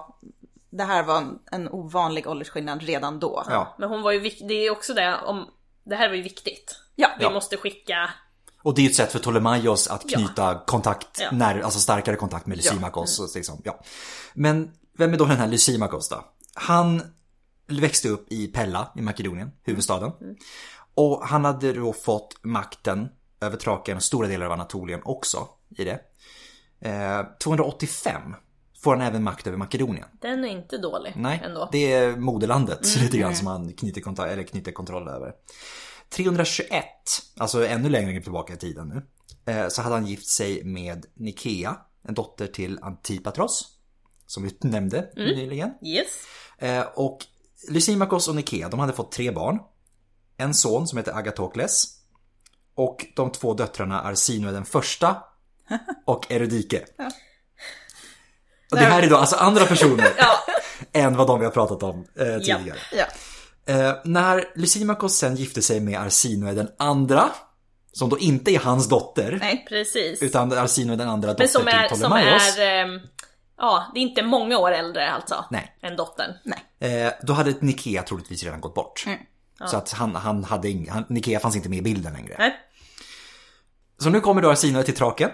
Det här var en, en ovanlig åldersskillnad redan då.
Ja,
Men hon var ju vik- det är ju också det om, det här var ju viktigt.
Ja.
Vi
Ja.
måste skicka,
och det är ju ett sätt för Ptolemaios att
Ja.
knyta kontakt,
Ja. Mm.
när, alltså starkare kontakt med Lysimakos. och Liksom, ja. Men vem är då den här Lysimakos då? Han växte upp i Pella i Makedonien, huvudstaden.
Mm.
Och han hade då fått makten över Traken och stora delar av Anatolien också i det. Eh, 285 får han även makt över Makedonien.
den är inte dålig
Nej,
ändå. Mm,
det är moderlandet lite grann som han knyter, konta- eller knyter kontroll över. 321, alltså ännu längre tillbaka i tiden nu, eh, så hade han gift sig med Nikea, en dotter till Antipatros, som vi <laughs> nämnde
Mm.
nyligen.
Yes.
Eh, Och Lysimakos och Nikea, de hade fått tre barn. En son som heter Agatokles. Och de två döttrarna Arsinoe den första
<laughs>
och Eurydike. Och det här är då alltså andra personer
Ja,
än vad de vi har pratat om eh, tidigare.
Ja.
Eh, när Lysimakos sen gifte sig med Arsinoe den andra, som då inte är hans dotter,
Nej.
precis.
utan Arsinoe den andra dotter
Men som är,
till
som
Ptolemaios,
är, ehm, ja, det är inte många år äldre alltså
Nej.
än
<laughs>
dottern.
eh, då hade Nikea troligtvis redan gått bort.
Mm.
Så att han, han hade ing, han, Nikea fanns inte med i bilden längre.
Nej.
Så nu kommer då Arsinoe till Traken.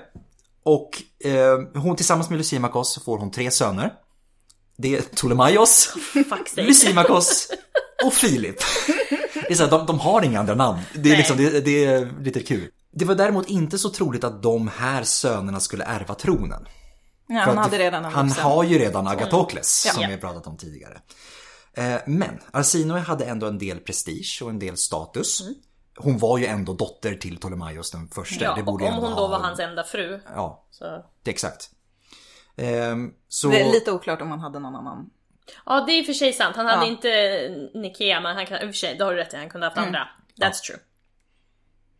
Och eh, hon tillsammans med Lysimakos så får hon tre söner. Det är Ptolemaios,
Fuck sake.
Lysimakos och Filip. Det är så här, de, de har inga andra namn. Det är,
Nej.
liksom, det, det är lite kul. Det var däremot inte så troligt att de här sönerna skulle ärva tronen.
Ja,
För
han
att
hade
det-
redan en
han
vuxen.
har ju redan Agatokles som
Ja.
vi har pratat om tidigare. Eh, Men Arsinoe hade ändå en del prestige och en del status. Hon var ju ändå dotter till Ptolemaios den första.
Ja,
det
och
borde
om
ändå
hon då
ha-
var hans enda fru.
Ja,
Så.
det, exakt. Ehm, Så...
Det är lite oklart om han hade någon annan.
Ja det är i och för sig sant, han hade
Ja. Mm.
inte Nikea men han kan, i och för sig, det har du rätt i, han kunde haft andra. That's true.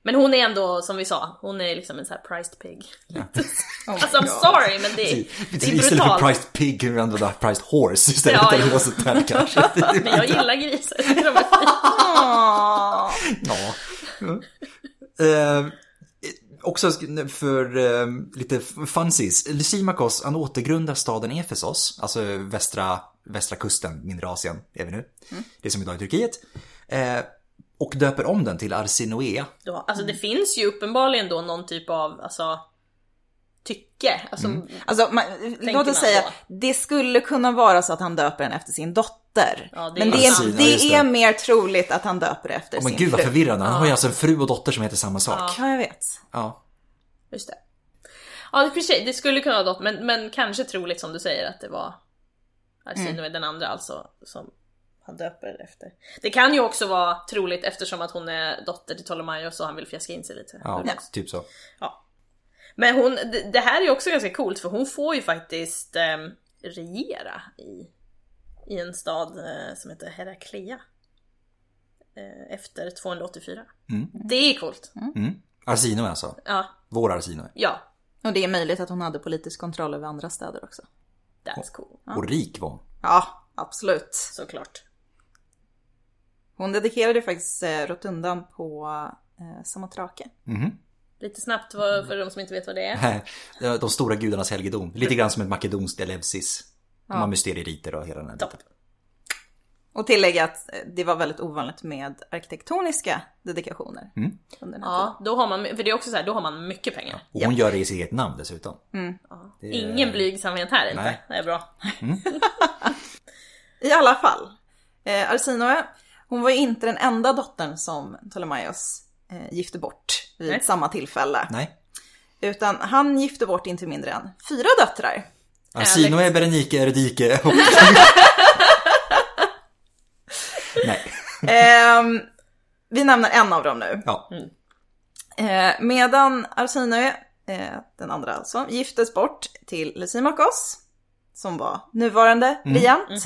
Men hon är ändå, som vi sa, hon är liksom en sån här prized pig.
Oh my
<laughs> Alltså I'm
God.
sorry men det är, det är
Istället för
brutalt.
priced pig kunde vi ändå ha priced horse istället.
Ja,
eller
ja.
något sånt där
<laughs>
kanske.
Men jag gillar grisar. <laughs> jag tycker de är fina.
Åh.
ja. Mm. Eh, också sk- för eh, lite funsies. Lysimakos, han återgrundar staden Efesos, alltså västra, västra kusten, mindre Asien är vi nu.
Mm.
Det som idag är Turkiet. Eh, och döper om den till Arsinoea.
Då, Alltså det finns ju uppenbarligen då någon typ av, alltså tycke. Alltså,
Alltså, man, låt
man
oss säga,
då?
det skulle kunna vara så att han döper den efter sin dotter.
Ja, det
men
är
det är,
sant. Ja, just
det
det.
är mer troligt att han döper det efter
Oh, men
sin
gud vad
fru.
förvirrande, han har ju alltså en fru och dotter som heter samma sak.
Ja, jag vet.
Ja.
just det. Ja det är för sig, det skulle kunna vara något men, men kanske troligt som du säger att det var Arsinoe den andra alltså som han döper det efter. Det kan ju också vara troligt eftersom att hon är dotter till Ptolemaios och han vill fjäska in sig lite.
Ja, typ så.
Ja. Men hon, det- det här är ju också ganska coolt för hon får ju faktiskt ehm, regera i, i en stad eh, som heter Herakleia. Eh, efter 284.
Mm.
Det är coolt.
Mm. Arsino alltså.
Ja,
Vår Arsino.
ja.
Och det är möjligt att hon hade politisk kontroll över andra städer också.
That's cool.
Och rik var hon.
Ja, absolut.
Såklart.
Hon dedikerade faktiskt eh, Rotundan på eh, Samothrake.
Mhm.
Lite snabbt för, för de som inte vet vad det är.
<laughs> De stora gudarnas helgedom. Lite grann som ett makedonskt elevsis. De har mysterieriter och hela den här
Topp.
Och tillägga att eh, det var väldigt ovanligt med arkitektoniska dedikationer.
Mm.
Under den här tiden.
Ja, då har man, för det är också så här, då har man mycket pengar.
Och hon gör det i sitt eget namn dessutom.
Mm. Ja.
Det är-
Ingen blygsamhet här inte.
Nej.
Det är bra.
I alla fall, eh, Arsinoe, hon var ju inte den enda dottern som Ptolemaios eh, gifte bort vid
Nej.
samma tillfälle.
Nej.
Utan han gifte bort inte mindre än fyra döttrar.
Arsino är Berenike, Eredike
<laughs>
och... Nej.
Ehm, vi nämner en av dem nu.
Ja.
Mm.
Eh, medan Arsinoe, eh, den andra alltså, giftes bort till Lysimakos, som var nuvarande regent,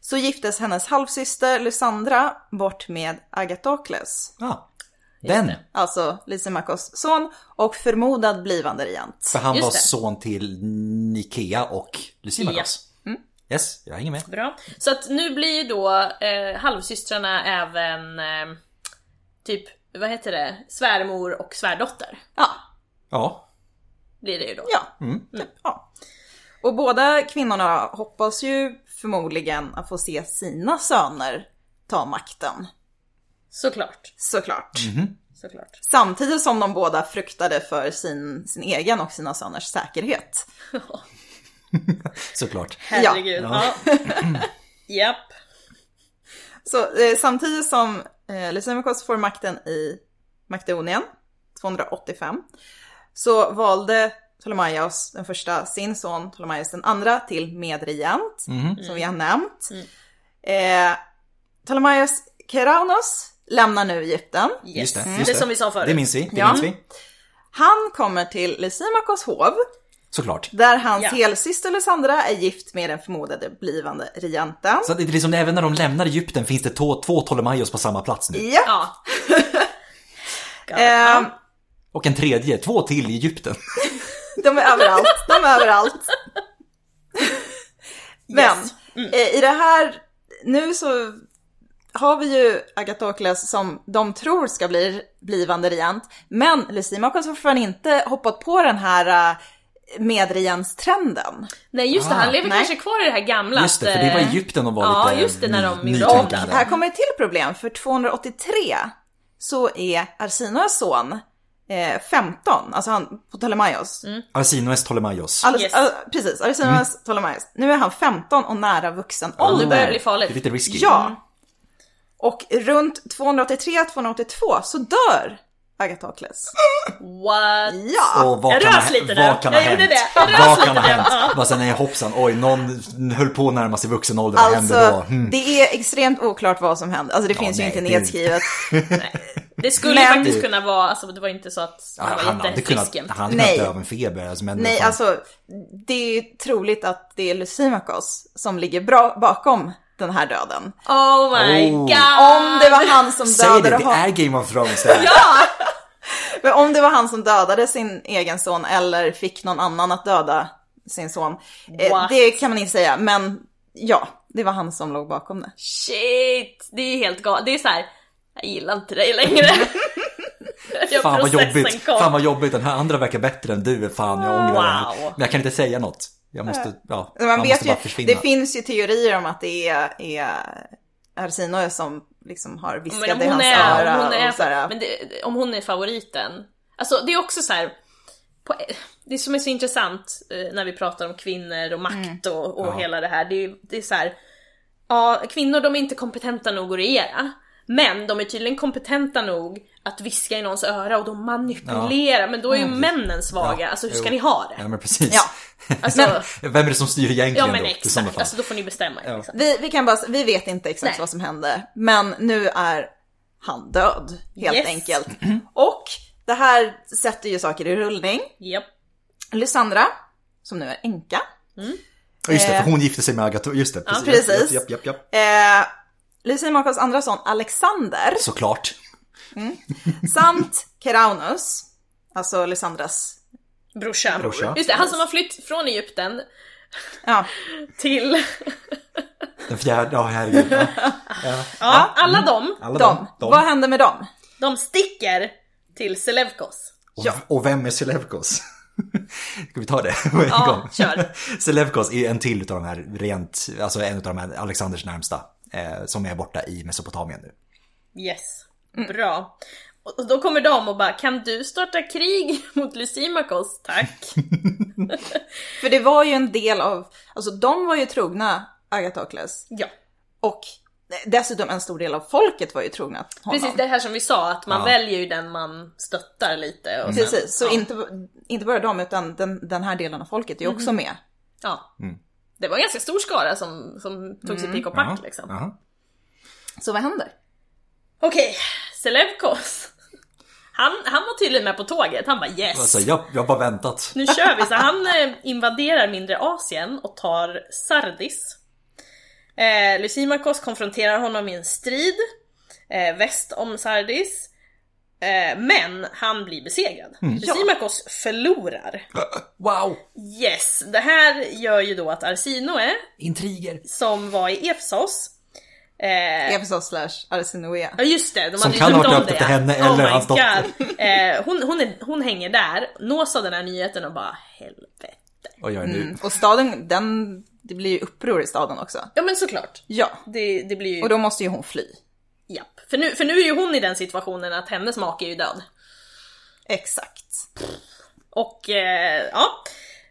så giftes hennes halvsyster Lysandra bort med Agatokles,
ja. Den.
alltså Lysimakos son och förmodad blivande regent.
För han
Just
var
det.
son till Nikea och Lysimakos.
Mm.
Yes, jag hänger med.
Bra. Så att nu blir ju då eh, halvsystrarna även eh, typ, vad heter det, svärmor och svärdotter.
Ja,
Ja.
Blir det ju då.
ja, typ, ja. Och båda kvinnorna hoppas ju förmodligen att få se sina söner ta makten,
Såklart.
såklart.
Såklart.
Samtidigt som de båda fruktade för sin, sin egen och sina söners säkerhet.
Såklart.
Herregud. Ja.
Ja. <clears throat>
Japp.
Så eh, samtidigt som eh, Lysimachos får makten i Makedonien 285 så valde Ptolemaios den första sin son Ptolemaios den andra till medregent
Mhm.
som vi har nämnt.
Mm.
Eh, Ptolemaios Keraunos lämnar nu Egypten.
Yes.
Just det.
Mm.
Just
det som vi sa förut.
Det minns vi. Det
Ja.
minns vi.
Han kommer till Lysimachos hov
Såklart.
där hans
Ja.
helsyster Lysandra är gift med den förmodade blivande regenten.
Så att det är liksom, även när de lämnar Egypten finns det två, två Ptolemaios på samma plats nu.
Ja.
Ja. God,
<laughs> Ehm,
ja.
Och en tredje, två till i Egypten.
De är överallt, de är
<laughs>
överallt. Men
Yes. Mm.
eh, i det här, nu så har vi ju Agatokles som de tror ska bli blivande regent. Men Lysimachos har fortfarande inte hoppat på den här eh, medregentstrenden.
Nej just det, han
Ah,
lever
nej.
kanske kvar i det här gamla.
Just det, för
att,
det var
eh,
Egypten de var
ja,
lite
just det, när de
ny-
gjorde om
nytänkande.
Här kommer ett till problem, för 283 så är Arsinoes son eh, 15, alltså han på Ptolemaios.
Arsinoes Ptolemaios.
Alldeles,
Mm, Yes. Mm.
all- precis, Arsinoes Ptolemaios. Nu är han 15 och nära vuxen
Ja, nu
ålder.
börjar det bli
Det är
farligt.
lite risky.
Ja. Och runt 283-282 så dör Agatokles.
What?
Ja!
Och vad
Jag
kan,
rös
ha-
lite nu.
vad kan ha
Jag
hänt?
gjorde det. Jag rös
Vad kan ha
lite nu.
hänt? Bara sen, nej hoppsan, oj, någon höll på att närma sig vuxen ålder, vad hände då?
Alltså,
Hmm.
det är extremt oklart vad som hände. Alltså det finns ju
nej,
inte
det-
nedskrivet.
Det skulle ju
Men-
faktiskt kunna vara, alltså det var inte så att
Ja,
han
han
var
hade kunnat,
jättefrisk jämt.
han hade kunnat
Nej.
dö av en feber. Alltså, men
<laughs> Nej,
fan,
alltså det är ju troligt att det är Lysimachos som ligger bra bakom den här döden.
Oh my
Oh.
god!
Om det var han som
Säg det,
dödade
det
honom.
är Game of Thrones det här.
Men om det var han som dödade sin egen son eller fick någon annan att döda sin son. Eh,
What?
det kan man inte säga, men ja, det var han som låg bakom det.
Shit! Det är ju helt galet. Det är så här. jag gillar inte dig
<laughs>
längre. jag
Fan vad
processen
jobbigt,
kom.
fan vad jobbigt, den här andra verkar bättre än du. Fan jag ångrar mig.
Wow.
Men jag kan inte säga något. Jag måste, ja,
Men
man
Man
måste
vet ju,
bara försvinna.
det finns ju teorier om att det är, är Arsinoe som liksom har viskat
Men
i
om hon
hans
är,
öra
om hon
och så här,
är, men det, om hon är favoriten. Alltså det är också så här. På, det som är så intressant eh, när vi pratar om kvinnor och makt
Mm.
och, och
Ja.
hela det här. Det, är- det är så här. Ja, kvinnor de är inte kompetenta nog att regera. Men de är tydligen kompetenta nog att viska i någons öra och de manipulerar. Men då är ju männen svaga.
Mm. Ja,
Alltså hur ska
jo.
ni ha det?
Ja men precis.
Ja.
Alltså,
<laughs> Vem är det som styr egentligen
ja men
då? I sådana
exakt.
fall.
Alltså då får ni bestämma er.
Ja.
Liksom.
Vi, vi kan bara, vi vet inte exakt
Nej.
vad som hände, men nu är han död helt
Yes.
enkelt. Och det här sätter ju saker i rullning.
Japp.
Lysandra, som nu är änka,
Ja, just det,
Eh.
för hon gifte sig med Agatha. Just det,
precis.
Japp, japp, japp.
eh, Lucien Markovs andra son
<laughs>
Alexander
Såklart.
samt Keraunus, alltså Lysandras,
Brorsa.
Brorsa.
Just det, han som har flytt från Egypten
ja,
till... <laughs>
Den fjärde, ja herregud. Ja.
Ja, alla
Mm.
dem.
Alla
dem.
dem.
Vad hände med dem?
De sticker till Selevkos.
Och,
Ja.
och vem är Selevkos? <laughs> Ska vi ta det på en
Ja,
gång?
kör.
<laughs> Selevkos är en till utav de här rent, alltså en utav de här Alexanders närmsta. Eh, som är borta i Mesopotamien nu.
Yes.
Mm.
Bra. Och och då kommer de och bara kan du starta krig <laughs> mot Lysimakos?
<laughs>
Tack.
För det var ju en del av, alltså de var ju trogna Agatokles
Ja.
och dessutom en stor del av folket var ju trogna honom.
Precis det här som vi sa att man
Ja. Mm.
väljer ju den man stöttar lite. Och sen,
Precis, så
ja.
inte, inte bara de utan den, den här delen av folket är också med.
Ja.
Mm.
Det var en ganska stor skara som, som tog sig pick och pack liksom.
jaha.
Så vad händer?
Okej, Selevkos. <laughs> Han, han var tydligen med på tåget, han bara yes!
Alltså jag, jag har bara väntat.
Nu kör vi! Så han eh, invaderar mindre Asien och tar Sardis. Eh, Lysimakos konfronterar honom i en strid eh, väst om Sardis. Eh, men han blir besegrad.
Mm,
Lysimakos förlorar.
Wow!
Yes, det här gör ju då att Arsinoe,
Intriger.
som var i Efsos, eh,
Det är förstås slash Arsinoea.
Ja just det, de
Som
hade
kan
ju döpt
ha
om
döpt det
det.
till henne
Oh
eller
my
hans
God.
dotter.
Eh, hon, hon, är, hon hänger där, nås av den här nyheten och bara helvete.
Oj, oj, nu.
Mm. Och staden, den, det blir ju uppror i staden också.
Ja men såklart.
Ja,
Det, det blir ju...
och då måste ju hon fly.
Japp. För nu, för nu är ju hon i den situationen att hennes make är ju död.
Exakt.
Och eh, ja.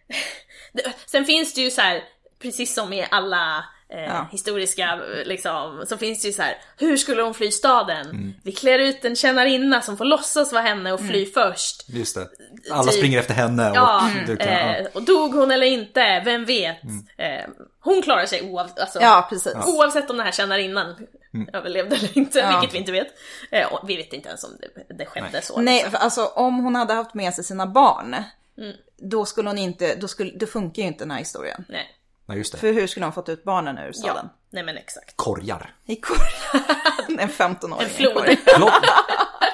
<laughs> Det- Sen finns det ju så här, precis som i alla eh,
Ja.
historiska eh, liksom, så finns det ju så här, hur skulle hon fly staden?
Mm.
Vi klär ut en tjänarinna som får låtsas vara henne och fly först.
Just det. Alla
Typ-
springer efter henne och
Ja,
du kan... ja.
eh, och dog hon eller inte, vem vet? Eh, hon klarar sig oavsett, alltså,
Mm. Ja, precis.
oavsett om den här tjänarinnan överlevde eller inte,
Ja.
vilket vi inte vet. Eh, och vi vet inte ens om det, det skedde så.
Nej, för alltså om hon hade haft med sig sina barn, Mm. då skulle hon inte, då, skulle, då funkar ju inte den här historien.
Nej.
Nej, just det.
För hur skulle hon fått ut barnen ur
Ja.
staden?
Nej men exakt.
Korgar.
I korgen. <laughs> En 15-åring.
En flod.
i en korg.
Klopp.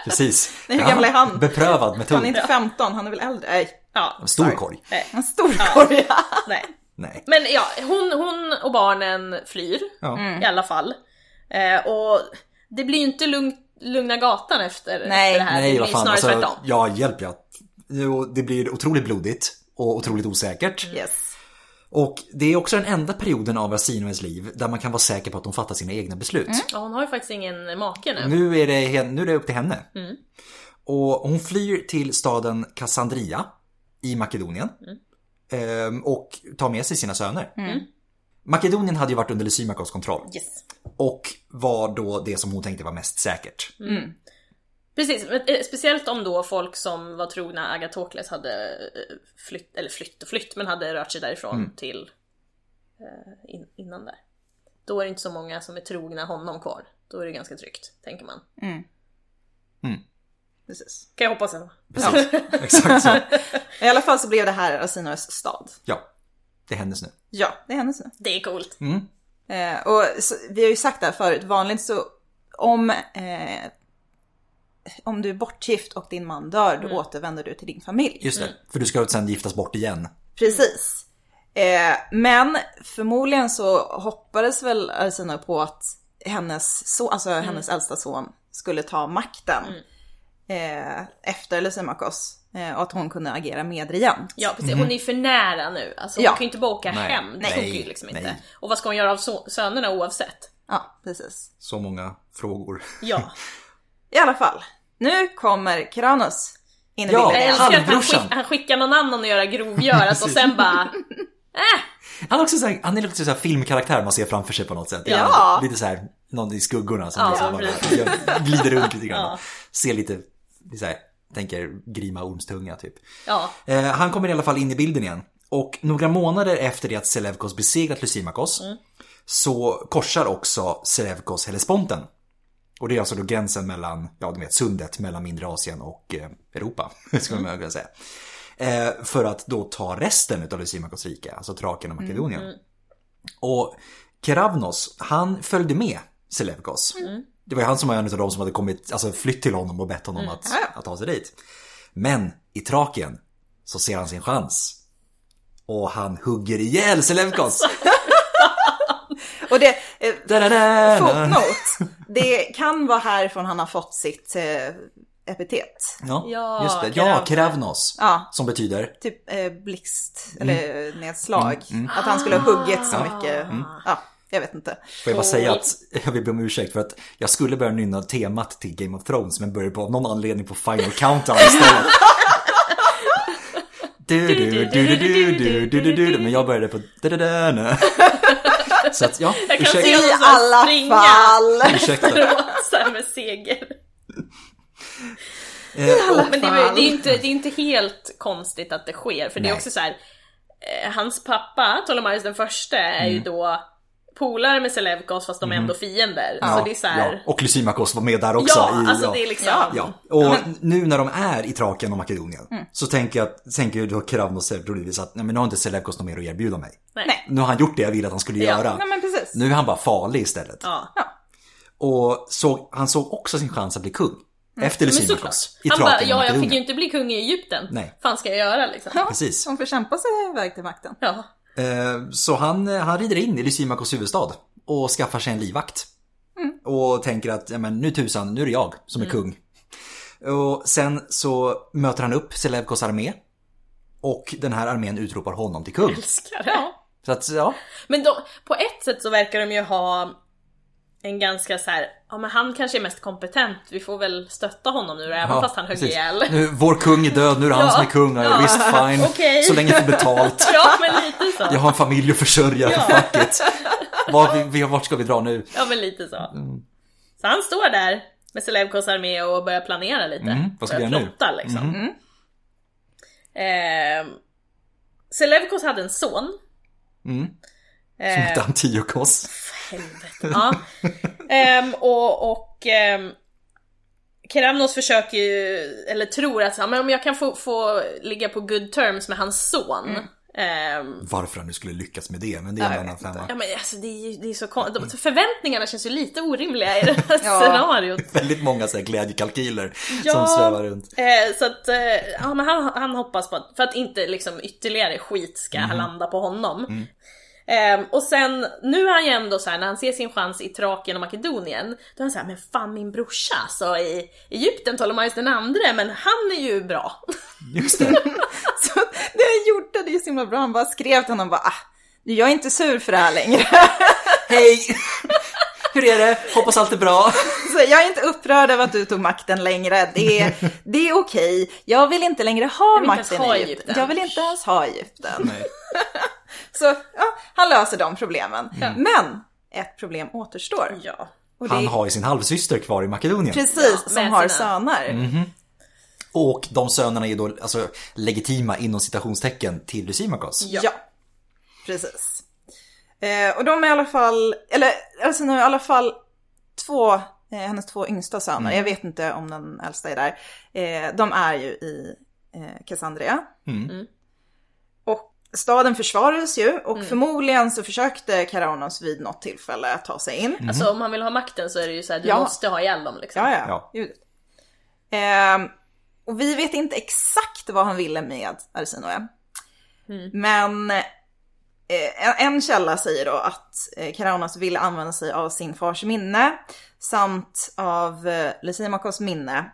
Precis.
Nej, <laughs> hur gammal är han?
Beprövad
Han är
metod.
inte 15, han är väl äldre? Nej,
<laughs> Ja. Eh,
Stor korg.
en stor korg. <laughs>
Nej.
Nej.
Men ja, hon, hon och barnen flyr
Mm.
Ja.
i alla fall. Eh, och det blir ju inte lugn, lugna gatan efter,
Nej.
efter det här.
Nej,
det
vad
blir
fan.
snarare
Alltså,
tvärtom.
ja, hjälp ja. Jo, Det blir otroligt blodigt och otroligt osäkert.
Yes.
Och det är också den enda perioden av Asinoes liv där man kan vara säker på att hon fattar sina egna beslut.
Mm.
Ja, hon har ju faktiskt ingen make nu.
Nu, är det, hen- nu är det upp till henne.
Mm.
Och hon flyr till staden Kassandria i Makedonien.
Mm.
Ehm, Och tar med sig sina söner. Makedonien hade ju varit under Lysimakos kontroll
Yes.
och var då det som hon tänkte var mest säkert. <laughs>
Precis, men, eh, speciellt om då folk som var trogna Agatokles hade eh, flytt, eller flytt och flytt, men hade rört sig därifrån
Mm.
till eh, in, innan där. Då är det inte så många som är trogna honom kvar. Då är det ganska tryggt, tänker man.
Precis.
Kan jag hoppas ändå.
Precis. Exakt så.
I alla fall så blev det här Arsinoes stad.
Ja, det är hennes nu.
Ja, det är hennes nu.
Det är coolt.
Mm.
Eh, och så, vi har ju sagt det här förut, vanligt så om, eh, om du är bortgift och din man dör, då
Mm.
återvänder du till din familj.
Just det, för du ska sen giftas bort igen.
Precis. Eh, men förmodligen så hoppades väl Arsino på att hennes, so- alltså hennes äldsta son skulle ta makten eh, efter Lysimakos eh, och att hon kunde agera medregent.
Ja precis, hon är ju för nära nu. Alltså hon
Ja.
kan ju inte bara åka
Mm. Nej.
hem. Det
Nej.
funkar ju liksom inte.
Nej.
Och vad ska hon göra av so- sönerna oavsett?
Ja, precis.
Så många frågor. <laughs>
Ja.
I alla fall, nu kommer Kranos in i
Ja.
bilden
Jag
igen.
älskar att han,
Halvbrorsan.
skick, han skickar någon annan att göra grovgörat och sen
<laughs>
bara... Äh,
Han är också så här, han är lite så här filmkaraktär man ser framför sig på något sätt.
Ja.
Lite så här någon i skuggorna som
Ja,
liksom bara
precis.
jag glider runt lite grann.
Ja.
Ser lite, så här, tänker grima ormstunga typ.
Ja,
Eh, han kommer i alla fall in i bilden igen. Och några månader efter det att Selevkos besegrat Lysimakos
Mm.
så korsar också Selevkos Hellesponten. Och det är alltså då gränsen mellan, ja du vet sundet mellan mindre Asien och eh, Europa, <laughs> skulle man kunna säga. Eh, för att då ta resten av Lysimakos rike, alltså Thrakien och Makedonien. Och Keravnos, han följde med Selevkos. Det var ju han som var en av de som hade kommit, alltså flytt till honom och bett honom att, att ta sig dit. Men i Thrakien så ser han sin chans. Och han hugger ihjäl Selevkos.
Och det, eh,
Da-da-da-da.
fotnot, det kan vara härifrån han har fått sitt eh, epitet.
Ja,
Ja,
just det. Ja,
Kravnos.
Kravnos.
Ja.
Som betyder
Typ eh, blixt eller nedslag. Att han skulle ha huggit så mycket. Ja, jag vet inte.
Får jag bara säga att <laughs> jag vill be om ursäkt för att jag skulle börja nynna temat till Game of Thrones men började på av någon anledning på Final Countdown
<laughs>
istället. Du, du, du, du, du, du, du, du, du, men jag började på da, da, da,
<laughs>
nu. Så att ja,
Jag kan se
ursäkta,
honom
I
så här
alla
springa. <laughs>
fall.
ursäkta.
såhär med seger. <laughs>
Eh, och-
Men det är, ju- det, är ju inte, det är inte helt konstigt att det sker, för det är
Nej.
också så här. eh, Hans pappa, Ptolemaios den förste, är
Mm.
ju då polare med Selevkos fast de är ändå fiender. Så Alltså, det är så här.
ja, och Lysimakos var med där
Ja,
också. i-
alltså
ja.
det är liksom... Mm.
Ja, och nu när de är i Thrakien och Makedonien så tänker jag, tänker ju då Kravnos troligtvis att nej men nu har inte Selevkos något mer att erbjuda mig.
Nej.
Nu har han gjort det jag ville att han skulle
Ja,
göra.
Nej men precis.
Nu är han bara farlig istället.
Ja.
Och såg, han såg också sin chans att bli kung. Efter
Mm. Men
Lysimakos.
såklart.
I
Han bara,
Thrakien och
ja jag fick ju
Makedonien.
inte bli kung i Egypten.
Nej.
fan ska jag göra liksom?
Ja,
precis.
Hon får kämpa sig iväg till makten. <laughs>
Ja.
Eh, Så han, eh, han rider in i Lysimakos huvudstad och skaffar sig en livvakt.
Mm.
Och tänker att ja, men nu tusan, nu är det jag som är kung. Och sen så möter han upp Selevkos armé. Och den här armén utropar honom till kung.
Älskar det.
Så att ja,
Men de, på ett sätt så verkar de ju ha en ganska så här, ja men han kanske är mest kompetent, vi får väl stötta honom nu då, även
ja
fast han högg
precis.
ihjäl.
Nu, vår kung är död, nu är det han
Ja.
som är kung. Ja,
Ja.
Visst fine,
Okej.
så länge jag får betalt.
<laughs> Ja men lite så.
Jag har en familj att försörja,
Ja.
fuck it. Var, vi- vi, vart ska vi dra nu? Mm,
Ja men lite så. Så han står där med Selevkos armé och börjar planera lite.
Mm, vad ska vi
Börjar
göra nu? Mm.
plotta, liksom. Ehm, Selevkos hade en son.
Mm.
Ehm,
Som heter Antiochos.
Helvete. Ja. Ehm, och och ehm, Keramnos försöker ju, eller tror att så här, men om jag kan få, få ligga på good terms med hans son. Ehm,
Varför han nu skulle lyckas med det, men det är en annan femma.
ja men alltså det är ju det är så konstigt. De- Förväntningarna känns ju lite orimliga i det här
Ja.
scenariot.
väldigt många så här glädjekalkyler
Ja.
som svävar runt.
Eh, så att, eh, ja, men han, han hoppas på att, för att inte liksom ytterligare skit ska landa på honom. Eh, och sen, nu är han ju ändå såhär, när han ser sin chans i Thrakien och Makedonien, då är han såhär, men fan min brorsa alltså i Egypten, Ptolemaios den andre, men han är ju bra. <laughs>
Just det.
Så det han gjorde, det är ju så himla bra. Han bara skrev till honom bara, ah, jag är inte sur för det här längre. <laughs>
Hej! Hur är det? Hoppas allt är bra.
Så Alltså, jag är inte upprörd över att du tog makten längre. Det är, det är okej. Jag vill inte längre ha
vill inte
makten
ens ha
i Egypten.
Egypten.
Jag vill inte ens ha Egypten.
Nej.
<laughs> Så ja, han löser de problemen. Men ett problem återstår.
Ja.
Och det
Han
är
har ju sin halvsyster kvar i Makedonien.
precis
Ja,
som
med
har
sina-
söner.
Mhm. Och de sönerna är då alltså, legitima inom citationstecken till Lysimakos.
Ja.
Ja, precis. Eh, och de är i alla fall, eller alltså nu är i alla fall två, eh, hennes två yngsta söner,
Mm.
jag vet inte om den äldsta är där, eh, de är ju i eh, Cassandria.
Mm.
Mm.
Och staden försvarades ju och förmodligen så försökte Karaonos vid något tillfälle att ta sig in.
Mm.
Alltså om han vill ha makten så är det ju såhär, du
Ja.
måste ha ihjäl dem liksom.
Ja, ja.
Ja.
Ljudet. Ehm, och vi vet inte exakt vad han ville med Arsinoe. Men eh, en, en källa säger då att eh, Karaunas ville använda sig av sin fars minne samt av eh, Lysimakos minne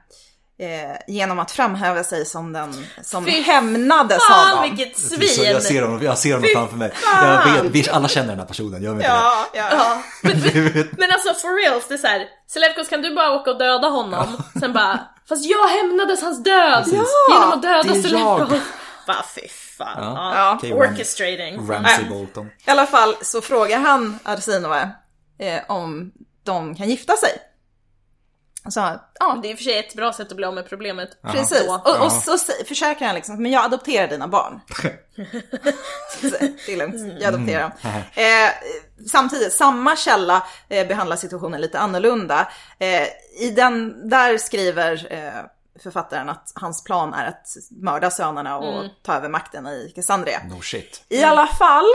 eh, genom att framhäva sig som den som
Fy
hämnades av
Fan
honom.
vilket
Typ Så
svin!
jag ser honom, jag ser honom framför mig. Jag vet, vi alla känner den här personen, gör vi inte
Ja, ja.
Ja. Men,
det? Vi vet-
Men alltså for reals, det är såhär, Selevkos kan du bara åka och döda honom? Sen bara, fast jag hämnades hans död! Genom att
det
döda
är
Selevkos!
jag.
Bara fy fan.
Ja.
Ja.
Okej,
Orchestrating.
Ramsay Bolton. <laughs>
I alla fall så frågar han Arsinoe eh, om de kan gifta sig. Så, ja,
Det är i och för sig ett bra sätt att bli av med problemet.
precis.
Då.
Och,
Ja.
och så sä- försäkrar han liksom, men jag adopterar dina barn. <laughs> Så, det är lugnt, jag adopterar dem. Eh, samtidigt, samma källa eh, behandlar situationen lite annorlunda. Eh, I den, där skriver eh, författaren att hans plan är att mörda sönerna och ta över makten i Cassandria.
No shit.
I alla fall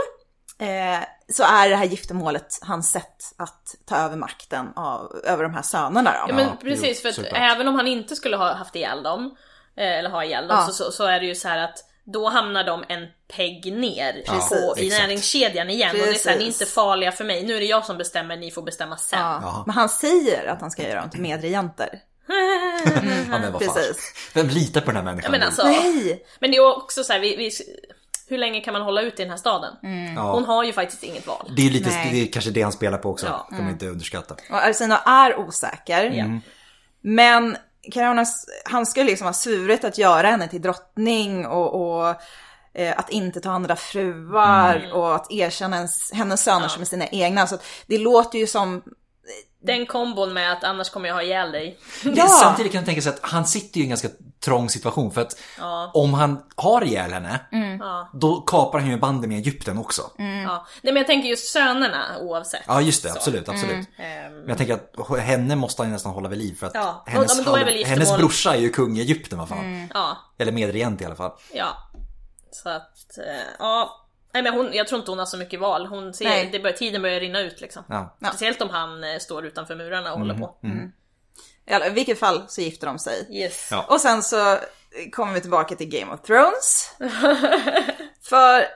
eh, så är det här giftermålet hans sätt att ta över makten av, över de här sönerna då.
Ja, men
Ja,
precis,
jo,
för att
såklart.
även om han inte skulle ha haft ihjäl dem, eh, eller ha ihjäl dem,
Ja.
så, så, så är det ju så här att då hamnar de en pegg ner på, i
exakt.
näringskedjan igen. Och det är så här, ni är
Precis.
inte farliga för mig, nu är det jag som bestämmer, ni får bestämma sen.
Ja. Men han säger att han ska göra dem till medregenter.
Ja, men vad fan.
Precis.
Vem litar på den här människan?
<laughs> Men
nu?
alltså,
Nej!
men det är också så här, vi, vi, hur länge kan man hålla ut i den här staden?
Mm.
Ja.
Hon har ju faktiskt inget val.
Det är lite,
Nej.
det är kanske det han spelar på också.
Ja. Mm.
Kan man inte underskatta.
Och Arsino är osäker.
Mm.
Men Caronas, han skulle liksom ha svurit att göra henne till drottning och, och eh, att inte ta andra fruar
Mm.
och att erkänna ens, hennes söner som är sina egna. Så att det låter ju som...
Den kombon med att annars kommer jag ha ihjäl dig.
Men
Ja.
Samtidigt kan jag tänka sig att han sitter ju i en ganska trång situation för att om han har ihjäl henne,
Mm. Ja, Mm.
då kapar han ju banden med Egypten också.
Mm.
ja. Nej men jag tänker just sönerna oavsett.
Ja just det, absolut, absolut.
Ehm,
Men jag tänker att henne måste han ju nästan hålla vid liv för att
Ja, och- ja,
hennes,
men då är
halv-
väl Mm. giftermål-
hennes brorsa är ju kung i Egypten vad fan.
ja.
Eller medregent i alla fall.
Ja. Så att, eh, ja. Nej men hon, jag tror inte hon har så mycket val. Hon
Nej.
ser, det börjar, tiden börjar rinna ut liksom.
Ja. Mm-hmm.
Ja.
Speciellt om han eh, står utanför murarna och håller på.
I alla- I vilket fall så gifter de sig.
Yes.
Ja.
Och sen så kommer vi tillbaka till Game of Thrones. För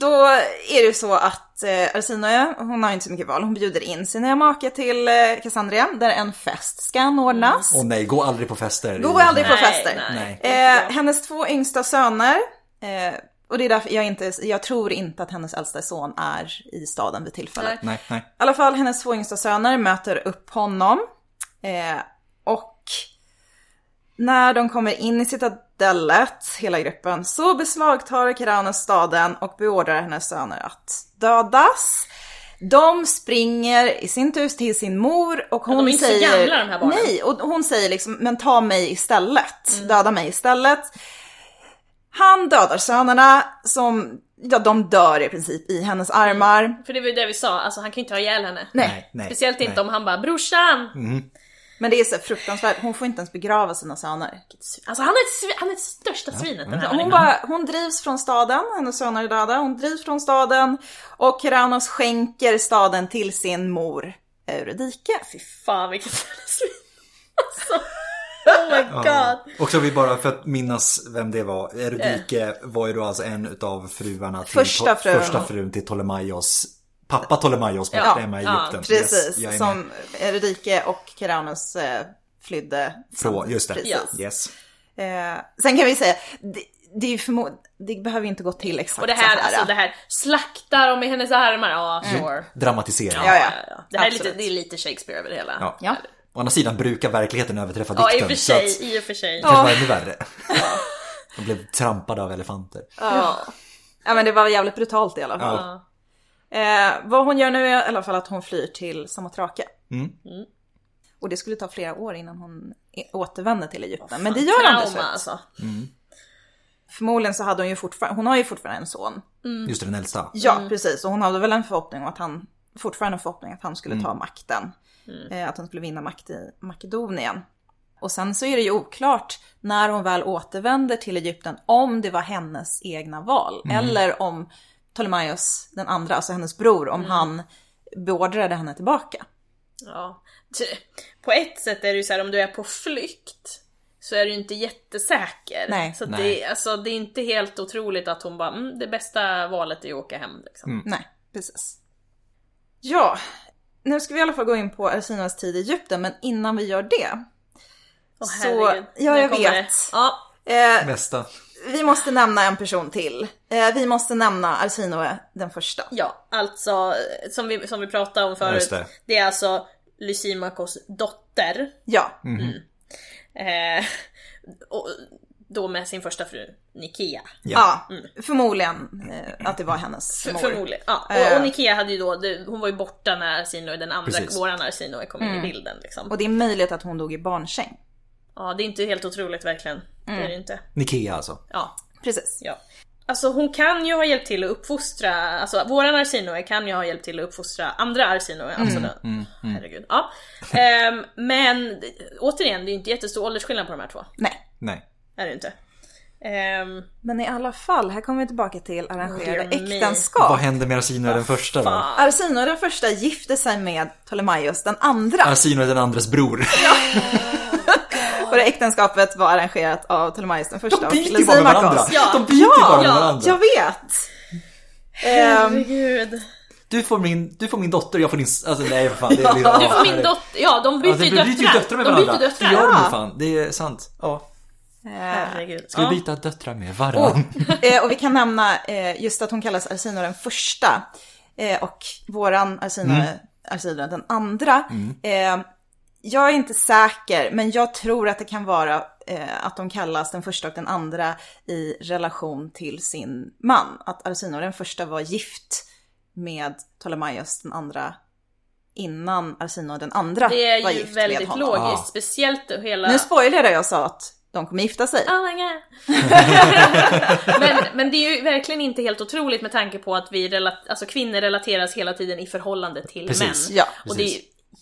då är det så att eh, Arsinoe, hon har inte så mycket val, hon bjuder in sin nya make till eh, Cassandria där en fest ska anordnas.
Och nej, gå aldrig på fester.
Gå aldrig på
Nej,
fester.
nej.
Eh, hennes två yngsta söner, eh, och det är därför jag inte, jag tror inte att hennes äldsta son är i staden vid tillfället.
Nej.
Nej, nej.
I alla fall hennes två yngsta söner möter upp honom. Eh, och när de kommer in i citadellet, hela gruppen, så beslagtar Keranos staden och beordrar hennes söner att dödas. De springer i sin tur till sin mor och hon
de är inte så
säger...
gamla, de här barnen. Mm.
Nej, och hon säger liksom, men ta mig istället. Döda mig istället. Han dödar sönerna som, ja de dör i princip i hennes armar.
För det var ju det vi sa, alltså han kan ju inte ha ihjäl henne.
Nej.
nej, nej.
Speciellt inte
nej. Mm.
om han bara “brorsan”.
Men det är så fruktansvärt, hon får inte ens begrava sina söner.
Alltså han är, ett, svi- han är det största
Mm.
svinet Alltså, den här
Hon,
människan.
bara, hon drivs från staden, hennes söner är döda, hon drivs från staden och Keranos skänker staden till sin mor Eurydike.
Fy fan
<laughs>
vilket jävla svin. Alltså. Oh my
Ja.
god.
Och så vi bara för att minnas vem det var. Eurydike var ju då alltså en utav fruarna till
Första
To-
frun.
första frun till Ptolemaios. Pappa Ptolemaios borta
Ja,
hemma i
ja,
Egypten.
Precis,
jag är med.
som Eurydike och Keranos eh, flydde.
Från, just det.
Precis.
Yes.
Eh, sen kan vi säga, det, det, är ju förmo- det behöver ju inte gå till exakt
Och det här,
så här.
alltså det här, slakta dem i hennes armar, ja
Mm.
sure.
Dramatisering.
Ja, ja.
Det här är lite,
Absolut.
det är lite Shakespeare över det hela.
Ja.
Ja.
Å andra sidan brukar verkligheten överträffa
Ja, i och
dikten.
för
så att
sig. I och för sig.
det kanske var ännu värre. <laughs> De blev trampade av elefanter.
Ja.
Ja men det var jävligt brutalt i alla fall.
Ja.
Ja.
Eh, vad hon gör nu är i alla fall att hon flyr till Samotrake. Och det skulle ta flera år innan hon i- återvänder till Egypten. men det gör hon till
Trauma
slut.
alltså.
Förmodligen så hade hon ju fortfarande, hon har ju fortfarande en son.
Just det, den äldsta.
Ja precis, och hon hade väl en förhoppning om att han, fortfarande en förhoppning att han skulle ta makten. Eh, att han skulle vinna makt i Makedonien. Och sen så är det ju oklart när hon väl återvänder till Egypten om det var hennes egna val. Eller om Ptolemaios den andra, alltså hennes bror, om han beordrade henne tillbaka.
Ja. Ty- På ett sätt är det ju så här om du är på flykt så är du ju inte jättesäker.
Nej.
så att
Nej.
Det, alltså, det är inte helt otroligt att hon bara, mm, det bästa valet är att åka hem. Liksom.
Mm.
Nej, precis. Ja, nu ska vi i alla fall gå in på Ersinas tid i Egypten, men innan vi gör det.
Åh,
Så-
herregud.
ja,
Nu
jag
kommer
vet.
det. Ja.
Eh,
Bästa.
vi måste nämna en person till. Eh, vi måste nämna Arsinoe den första.
ja, alltså eh, som vi, som vi pratade om förut.
just det.
det är alltså
Mm.
Lysimakos dotter.
Ja,
Eh, och Då med sin första fru, Nikea.
Ja.
Ja, förmodligen eh, att det var hennes
Mm. För,
mor.
förmodligen. Ja.
Eh.
Och, och Nikea hade ju då, det, hon var ju borta när Arsinoe, den andra,
Precis.
våran Arsinoe kom in i bilden liksom.
Och det är möjligt att hon dog i barnsäng.
Ja, det är inte helt otroligt verkligen. Det är det inte.
Nikea alltså.
Ja,
Precis.
ja. Alltså hon kan ju ha hjälpt till att uppfostra, alltså våran Arsinoe kan ju ha hjälpt till att uppfostra andra Arsinoe.
Mm.
Alltså den, herregud. Ja. Ehm, men återigen, det är ju inte jättestor åldersskillnad på de här två.
Nej.
Nej.
Är det inte. Ehm,
Men i alla fall, här kommer vi tillbaka till arrangerade
Dear me.
Vad
äktenskap.
hände med Arsinoe den första då?
Arsinoe den första gifte sig med Ptolemaios den andra.
Arsinoe den andres bror.
Och det äktenskapet var arrangerat av Ptolemaios den första
De
och
byter ju bara med
Lysimachos.
varandra.
Ja.
De byter ju
Ja,
bara med
ja,
varandra.
Jag vet! Ehm,
herregud.
Du får min, du får min dotter, jag får din... s- Alltså nej vad fan. Det är liksom,
Du får Alltså, min dotter, ja de byter
Ja, det
ju
blir- byter ju typ döttrar med
De
varandra.
byter döttrar.
Det gör de ju
Ja.
fan. Det är sant. Ja.
eh,
Herregud.
Ska
Ja.
vi byta döttrar med
Alltså,
varandra?
eh, och vi kan nämna eh, just att hon kallas Arsinoe den första eh, och våran Arsinoe, Arsinoe den andra. Eh, jag är inte säker, men jag tror att det kan vara eh, att de kallas den första och den andra i relation till sin man. Att Arsinoe den första var gift med Ptolemaios den andra innan Arsinoe den andra
Det är
var
ju
gift med
väldigt
honom.
logiskt,
Ah.
speciellt hela...
Nu spoilade jag och sa att de kommer gifta sig.
Oh my
<laughs>
God. men, men det är ju verkligen inte helt otroligt med tanke på att vi relat- alltså, kvinnor relateras hela tiden i förhållande till
Precis.
män.
Ja.
Och det är ju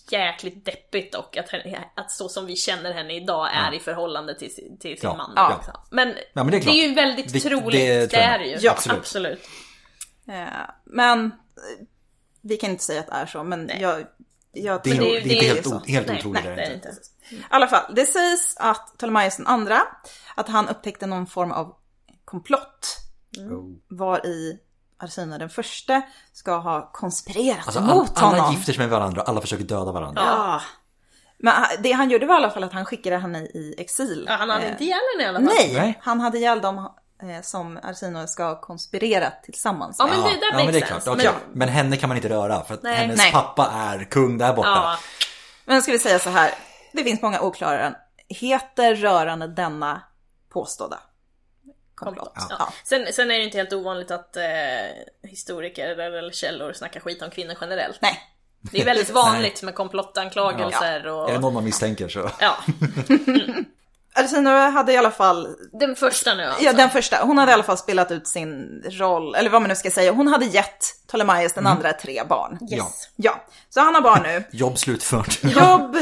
jäkligt deppigt dock att, henne, att så som vi känner henne idag är i förhållande till, sin- till sin
Ja.
man.
Ja.
liksom. Men,
men det är
det, är
klart.
ju väldigt
Det-
troligt,
det
det,
tror jag.
är det ju.
Ja, absolut.
Eh, Men eh, vi kan inte säga att det är så, men jag, jag
Det är,
tror
det är
det är-
inte
det är ju
helt,
så.
o- helt
Nej,
otroligt.
nej,
är det inte.
inte.
I alla fall, det sägs att Ptolemaios den andra, att han upptäckte någon form av komplott
Oh.
Mm.
var i Arsinoe den första ska ha konspirerat
Alltså, all,
mot honom.
alla gifter sig med varandra, alla försöker döda varandra.
Ja. Men han- det han gjorde var i alla fall att han skickade henne i exil.
Ja, han hade
Eh,
inte ihjäl henne i alla fall.
Nej,
Nej.
han hade ihjäl dem eh, som Arsinoe ska ha konspirerat tillsammans
Ja,
med.
men det där
ja,
makes
men det är
sense.
klart. Men...
Men-
Ja. men henne kan man inte röra för att
Nej.
hennes
Nej.
pappa är kung där borta.
Ja.
Men ska vi säga så här, det finns många oklarheter rörande denna påstådda komplott.
Ja.
Ja.
Sen, sen är det ju inte helt ovanligt att eh, historiker eller eller källor snackar skit om kvinnor generellt.
Nej,
Det
<laughs>
är väldigt vanligt med komplottanklagelser och...
Är det någon man misstänker så.
Ja,
Arsinoe hade i alla fall,
den första nu alltså.
ja den första, hon hade i alla fall spelat ut sin roll, eller vad man nu ska säga, hon hade gett Ptolemaios den
Mm.
andra tre barn.
Yes.
Ja, så han har barn nu.
Jobb slutfört.
Jobb,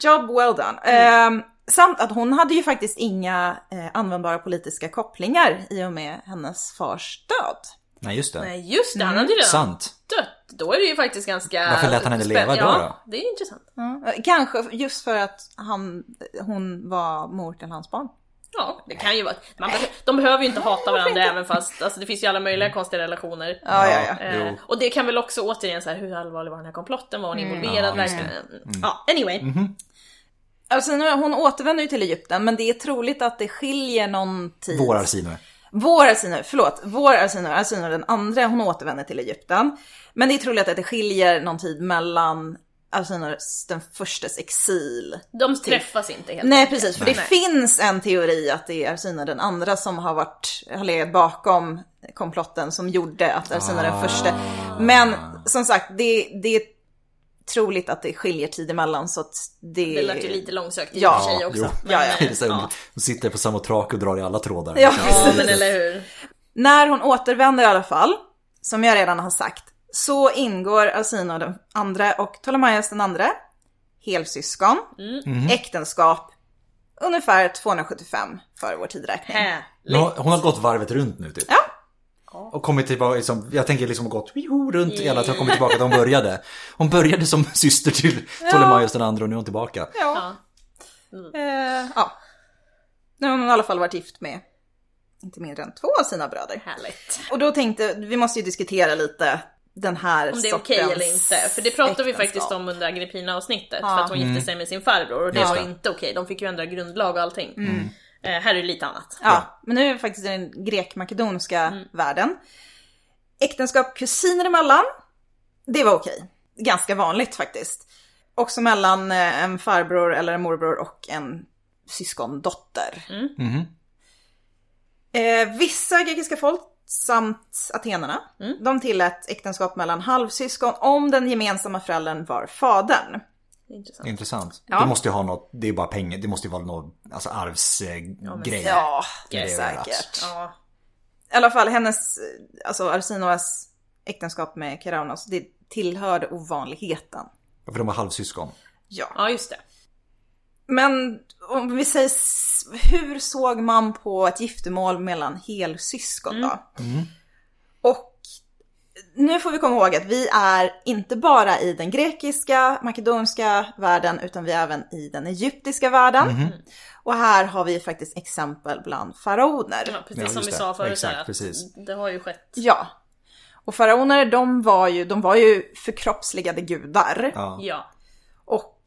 job well
Mm.
done. Ehm, samt att hon hade ju faktiskt inga eh, användbara politiska kopplingar i och med hennes fars död.
Nej, just det.
Nej just det, han hade ju redan
Mm, Sant.
dött. Då är det ju faktiskt ganska...
Varför lät han henne
spän-
leva då,
Ja, det är ju intressant.
Ja, Kanske just för att han, hon var mor till hans barn.
Ja, det kan ju vara... Man, behö- de behöver ju inte hata varandra även fast... Alltså det finns ju alla möjliga konstiga relationer.
Ja, ja, ja.
Eh,
Jo. Mm.
och det kan väl också återigen så här, hur allvarlig var den här komplotten? Var hon involverad?
Ja, just Mm. Mhm.
verkligen? Ja, anyway.
Alltså, nu- hon återvänder ju till Egypten, men det är troligt att det skiljer någon tid.
Vår Arsinoe.
Vår Arsinoe, förlåt. Vår Arsinoe, Arsinoe den andra, hon återvänder till Egypten. Men det är troligt att det skiljer någon tid mellan Arsinoe den förstes exil.
De träffas inte helt
Nej, precis. För det
Nej.
finns en teori att det är Arsinoe den andra som har, varit, har legat bakom komplotten som gjorde att Arsinoe den första.
Ah.
Men som sagt, det, det är troligt att det skiljer tid emellan så att det...
Det lät ju lite långsökt i och
Ja,
för sig också.
jo.
Men,
Ja, ja.
eh,
Det är så <laughs> här, Hon sitter på samma trak och drar i alla trådar. Liksom.
Ja,
ja,
precis.
men
<laughs>
eller hur.
När hon återvänder i alla fall, som jag redan har sagt, så ingår Arsinoe den andra och Ptolemaios den andra, helsyskon,
Mm.
äktenskap, ungefär 275 före vår tideräkning.
Äh,
Men Hon, hon har gått varvet runt nu typ.
Ja.
Och kommit tillbaka, liksom, jag tänker liksom gått wiho, runt hela tiden, kommit tillbaka till hon började. Hon började som <laughs> syster till Ptolemaios den andra och nu är hon tillbaka.
Ja.
ja. Mm.
Eh, ja. Nu har hon i alla fall varit gift med inte mindre än två av sina bröder.
Härligt.
Och då tänkte vi måste ju diskutera lite den här
Om det är okej
sortens
eller inte. För det pratade vi
äktenskap.
faktiskt om under Agrippina avsnittet.
Ja.
För att hon gifte sig med sin farbror och det
Just
var
det. Mm.
inte okej. De fick ju ändra grundlag och allting. Eh, här är det lite annat.
Ja, men nu är vi faktiskt i den grekmakedonska världen. Äktenskap kusiner emellan, det var okej. Ganska vanligt faktiskt. Också mellan eh, en farbror eller en morbror och en syskondotter.
Mhm.
Eh, vissa grekiska folk samt atenarna, de tillät äktenskap mellan halvsyskon om den gemensamma föräldern var fadern.
Det är intressant.
Intressant.
Ja.
Det måste ju ha något, det är bara pengar, det måste ju vara någon alltså arvsgrej. Eh, grej.
Ja,
det är
säkert.
rätt.
Ja.
I alla fall hennes, alltså Arsinoas äktenskap med Keraunos, det tillhörde ovanligheten.
För de var halvsyskon.
Ja.
ja, just det.
Men om vi säger, s- hur såg man på ett giftermål mellan helsyskon då? Och nu får vi komma ihåg att vi är inte bara i den grekiska, makedonska världen utan vi är även i den egyptiska världen. Och här har vi faktiskt exempel bland faraoner.
Ja, precis
Ja,
som
just
vi
det.
sa förut.
Exakt,
där, att
precis.
Det har ju skett.
Ja. Och faraoner de var ju, de var ju förkroppsligade gudar.
Ja.
Ja.
Och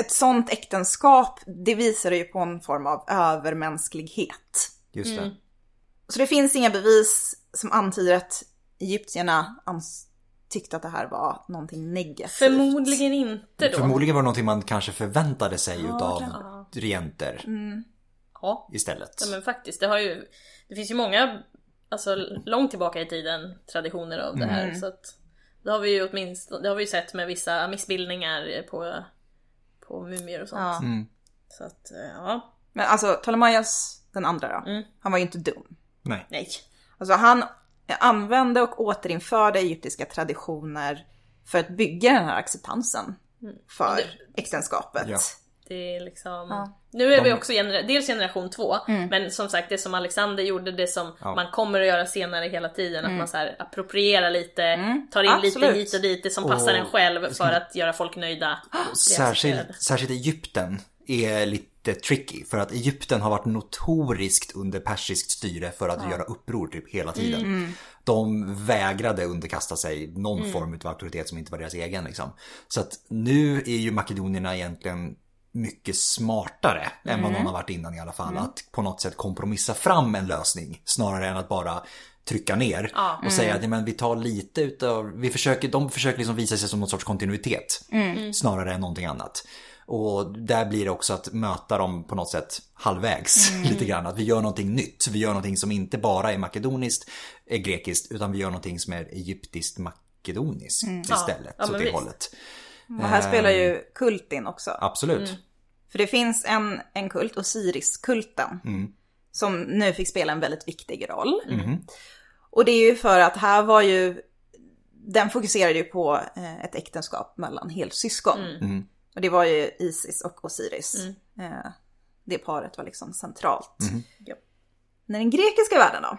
ett sånt äktenskap, det visar ju på en form av övermänsklighet.
Just det.
Så det finns inga bevis som antyder att egyptierna ans- tyckte att det här var någonting negativt.
Förmodligen inte då.
Förmodligen var det någonting man kanske förväntade sig utav
ja.
regenter
Mm.
Ja.
istället.
ja, men faktiskt. Det har ju... Det finns ju många, alltså långt tillbaka i tiden, traditioner av det
Mm.
här. Så att det har vi ju åtminstone, det har vi ju sett med vissa missbildningar på, på mumier och sånt.
Ja.
Så att, eh, ja.
Men alltså Ptolemaios den andra då, han var ju inte dum.
Nej.
Nej.
Alltså han använde och återinförde egyptiska traditioner för att bygga den här acceptansen för äktenskapet.
Ja.
Det är liksom...
Ja. Mm.
Nu är
De-
vi också gener... dels generation två, men som sagt det som Alexander gjorde, det som
Ja.
man kommer att göra senare hela tiden, att man så här approprierar lite, tar in
Mm. absolut.
lite hit och dit, det som passar
Och-
en själv för
Mm.
att göra folk nöjda. accepterade.
Särskilt, särskilt Egypten är lite tricky för att Egypten har varit notoriskt under persiskt styre för att göra uppror typ hela tiden. De vägrade underkasta sig någon form av auktoritet som inte var deras egen. Liksom. Så att nu är ju makedonierna egentligen mycket smartare än vad någon har varit innan i alla fall. Att på något sätt kompromissa fram en lösning snarare än att bara trycka ner
Ja.
och säga att "Nej, men vi tar lite utav, vi försöker, de försöker liksom visa sig som någon sorts kontinuitet
Mm.
snarare än någonting annat. Och där blir det också att möta dem på något sätt halvvägs
Mm.
<laughs> lite grann. Att vi gör någonting nytt. Vi gör någonting som inte bara är makedoniskt, är grekiskt, utan vi gör någonting som är egyptiskt makedoniskt istället.
Mm. Ja,
åt
men
det
visst.
hållet.
Och här spelar ju kult in också.
Absolut.
Mm.
För det finns en, en kult, Osiris-kulten, som nu fick spela en väldigt viktig roll. Och det är ju för att här var ju, den fokuserade ju på eh, ett äktenskap mellan helsyskon.
Mm.
Och det var ju Isis och Osiris. Eh, det paret var liksom centralt.
Ja.
När den grekiska världen då,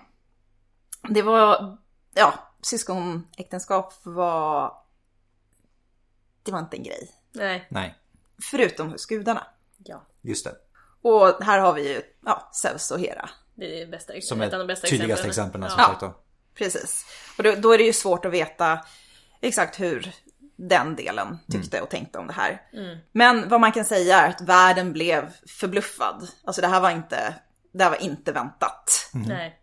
det var, ja, syskonäktenskap var, det var inte en grej.
Nej.
Nej,
Förutom hos gudarna.
Ja.
just det.
Och här har vi ju ja, Zeus och Hera.
Det är det bästa,
Som
ett av de
är
bästa
tydligaste exemplen.
exemplen.
alltså.
Ja.
som sagt då.
Precis. Och då, då är det ju svårt att veta exakt hur den delen tyckte
Mm.
och tänkte om det här. Men vad man kan säga är att världen blev förbluffad. Alltså det här var inte, det här var inte väntat.
Mm.
Nej.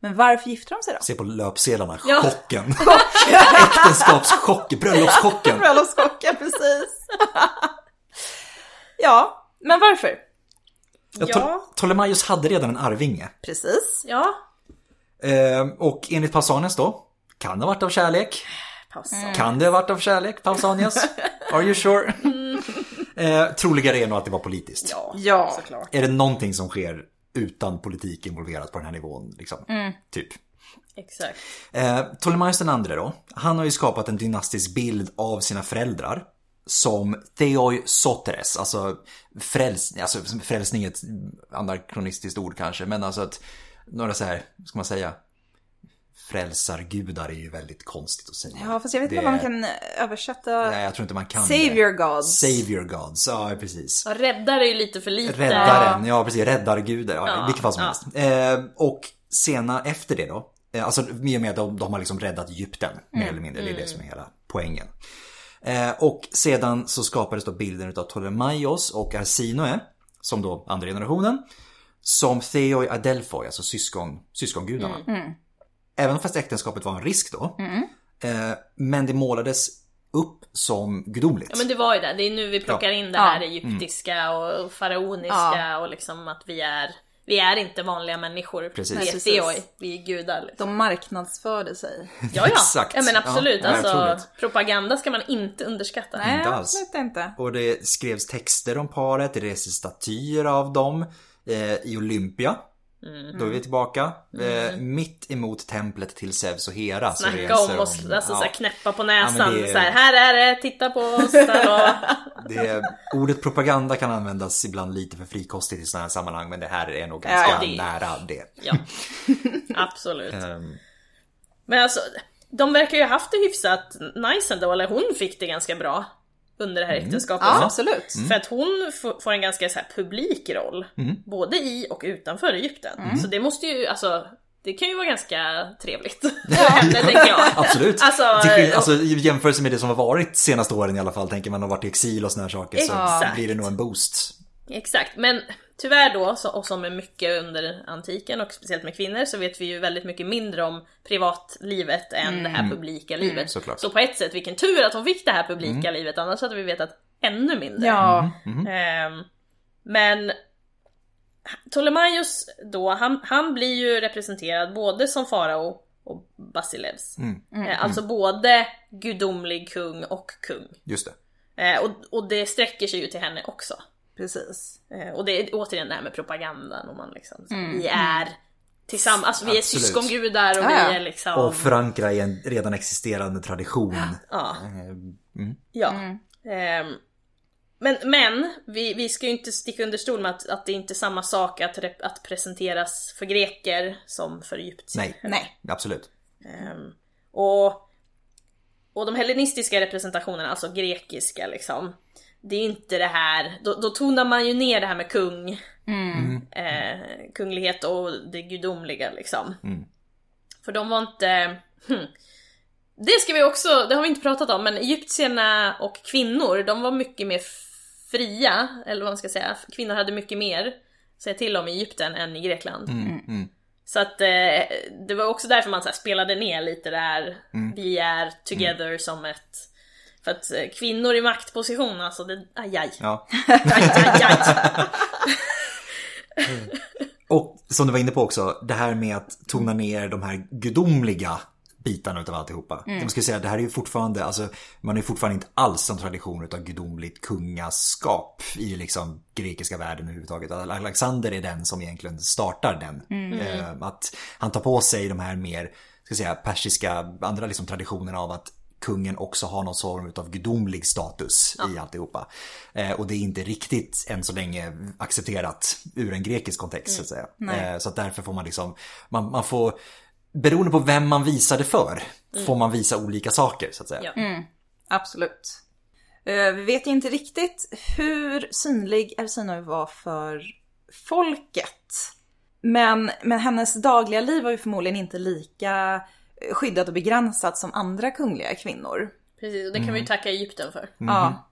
Men varför gifte de sig då?
Se på löpsedlarna,
Ja. <laughs>
chocken. Äktenskapschock, bröllopschocken.
Bröllopskocken, precis. <laughs> ja, men varför?
Ja.
Ja.
Pto- Ptolemaios hade redan en arvinge.
Precis.
Ja.
Eh, och enligt Pausanias då, kan det ha varit av kärlek?
Paus.
Mm.
Mm. Kan det ha varit av kärlek,
<laughs>
Pausanias? Are you sure? Eh, troligare är nog att det var politiskt.
Ja.
Mm. Ja.
Såklart.
Är det någonting som sker utan politik involverat på den här nivån? Liksom?
Mm.
Typ.
Exakt.
Eh, Ptolemaios den andre då, han har ju skapat en dynastisk bild av sina föräldrar som Theoi Soteres, alltså, fräls, alltså som frälsning är ett anakronistiskt ord kanske, men alltså att några så här, vad ska man säga, frälsargudar är ju väldigt konstigt att säga.
Ja, fast jag vet
Det-
inte om man kan eh, översätta
Nej, jag tror inte man kan
Savior
det.
Gods.
Savior gods, ja precis.
Ja, Räddare är ju lite för lite.
Räddaren, ja precis, räddarguden, ja,
Ja,
vilket fall som
ja.
helst. Eh, och sena efter det då, eh, alltså i och med att de, de har liksom räddat Egypten
Mm.
mer eller mindre, det är det som är hela poängen. Eh, och sedan så skapades då bilden utav Ptolemaios och Arsinoe, som då andra generationen, som Theoi Adelphoi, alltså syskon, syskongudarna.
Mm.
Även fast äktenskapet var en risk då, eh, men det målades upp som gudomligt.
Ja men det var ju det, det är nu vi plockar in det
Ja. Mm.
här egyptiska och faraoniska
Ja.
och liksom att vi är Vi är inte vanliga människor.
Precis.
Vi är
Nej, precis.
theoi, vi är gudar. Liksom.
De marknadsförde sig.
Ja, ja.
Exakt.
ja men absolut.
Ja, ja,
alltså,
otroligt.
propaganda ska man inte
<laughs>
underskatta.
Inte alls.
absolut inte.
Och det skrevs texter om paret, det reses statyer av dem eh, i Olympia.
Mm.
Då är vi tillbaka. Eh, mitt emot templet till Zeus och Hera. så
Snacka
reser
om och alltså,
ja,
så här, knäppa på
Ja,
näsan.
men det är-
så här, här är det, titta på oss.
<laughs>
Där var...
det, Ordet propaganda kan användas ibland lite för frikostigt i sådana här sammanhang men det här är nog
Ja,
ganska
det-
nära det.
Ja, absolut.
Ehm,
Men alltså, de verkar ju ha haft det hyfsat nice ändå, eller hon fick det ganska bra under det här
Mm.
äktenskapet.
Ja,
Så-
absolut.
För att hon f- får en ganska så här publik roll, både i och utanför Egypten. Så det måste ju, alltså, det kan ju vara ganska <laughs> trevligt för henne tänker jag.
Absolut!
<laughs> Alltså,
Till skill-
eh,
alltså, I jämförelse med det som har varit senaste åren i alla fall, tänker man har varit i exil och såna här saker så
Exakt.
blir det nog en boost.
Exakt, men tyvärr då, så- och som med mycket under antiken och speciellt med kvinnor, så vet vi ju väldigt mycket mindre om privatlivet än det här publika livet.
såklart.
Så på ett sätt, vilken tur att hon fick det här publika livet, annars hade vi vetat ännu
Mm.
mindre.
Ja,
Ehm, men Ptolemaios då, han, han blir ju representerad både som farao och Basilevs.
Mm,
Eh, Alltså både gudomlig kung och kung.
Just det.
Eh, och, och det sträcker sig ju till henne också.
precis.
Eh, Och det är återigen det här med propagandan och man liksom, så, vi är tillsammans, alltså vi är
Absolut.
syskongudar och
Ja, ja.
vi är liksom...
Och förankra i en redan existerande tradition.
ja.
Ehm,
Ja. Ehm, men men vi, vi ska ju inte sticka under stol med att, att det inte är samma sak att, rep- att presenteras för greker som för egyptier.
Nej,
Nej.
absolut.
Ehm, och, och de hellenistiska representationerna, alltså grekiska liksom, det är inte det här, då, då tonar man ju ner det här med kung,
Mm.
eh, kunglighet och det gudomliga liksom. För de var inte, hmm. det ska vi också, det har vi inte pratat om, men egyptierna och kvinnor, de var mycket mer fria, eller vad man ska säga, kvinnor hade mycket mer att säga till om i Egypten än i Grekland.
Mm.
Så att eh, det var också därför man så här, spelade ner lite där vi är together som ett... För att eh, kvinnor i maktposition alltså, det, aj, aj,
Ja.
aj, aj, aj.
Och som du var inne på också, det här med att tona ner de här gudomliga bitarna utav alltihopa. Jag skulle säga, det här är ju fortfarande, alltså man är ju fortfarande inte alls en tradition utav gudomligt kungaskap i liksom grekiska världen överhuvudtaget. Alexander är den som egentligen startar den. Eh, Att han tar på sig de här mer, ska säga, persiska, andra liksom traditionerna av att kungen också har någon form utav gudomlig status i alltihopa. Eh, och det är inte riktigt än så länge accepterat ur en grekisk kontext så att säga. Eh, så att därför får man liksom, man, man får, beroende på vem man visar det för, får man visa olika saker så att säga.
Ja.
Absolut. Eh, Vi vet ju inte riktigt hur synlig Elsinoi var för folket. Men, men hennes dagliga liv var ju förmodligen inte lika eh, skyddat och begränsat som andra kungliga kvinnor.
Precis, och det kan vi ju tacka Egypten för.
Ja,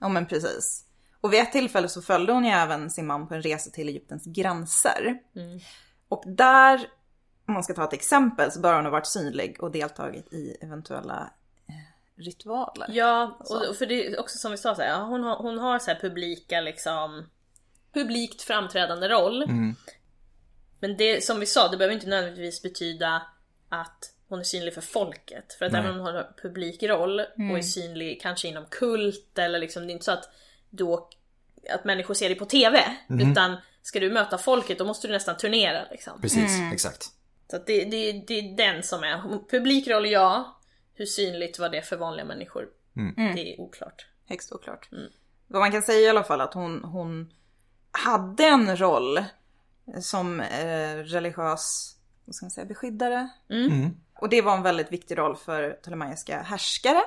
ja men precis. Och vid ett tillfälle så följde hon ju även sin man på en resa till Egyptens gränser.
Mm.
Och där, om man ska ta ett exempel, så bör hon ha varit synlig och deltagit i eventuella eh, ritualer.
Ja, och, och för det är också som vi sa, så här, ja, hon har, hon har så här publika liksom, publikt framträdande roll.
Mm.
Men det som vi sa, det behöver inte nödvändigtvis betyda att hon är synlig för folket. För att
Nej. Mm.
även om hon har en publik roll och är synlig kanske inom kult eller liksom, det är inte så att då att människor ser dig på TV.
Mhm.
Utan ska du möta folket då måste du nästan turnera liksom.
Precis, exakt.
Så att det, det, det är den som är, publik roll ja. Hur synligt var det för vanliga människor?
Mm.
Det är oklart.
Högst oklart. Vad man kan säga i alla fall att hon, hon hade en roll som eh, religiös vad ska man säga, beskyddare.
Mm.
Och det var en väldigt viktig roll för ptolemaiska härskare.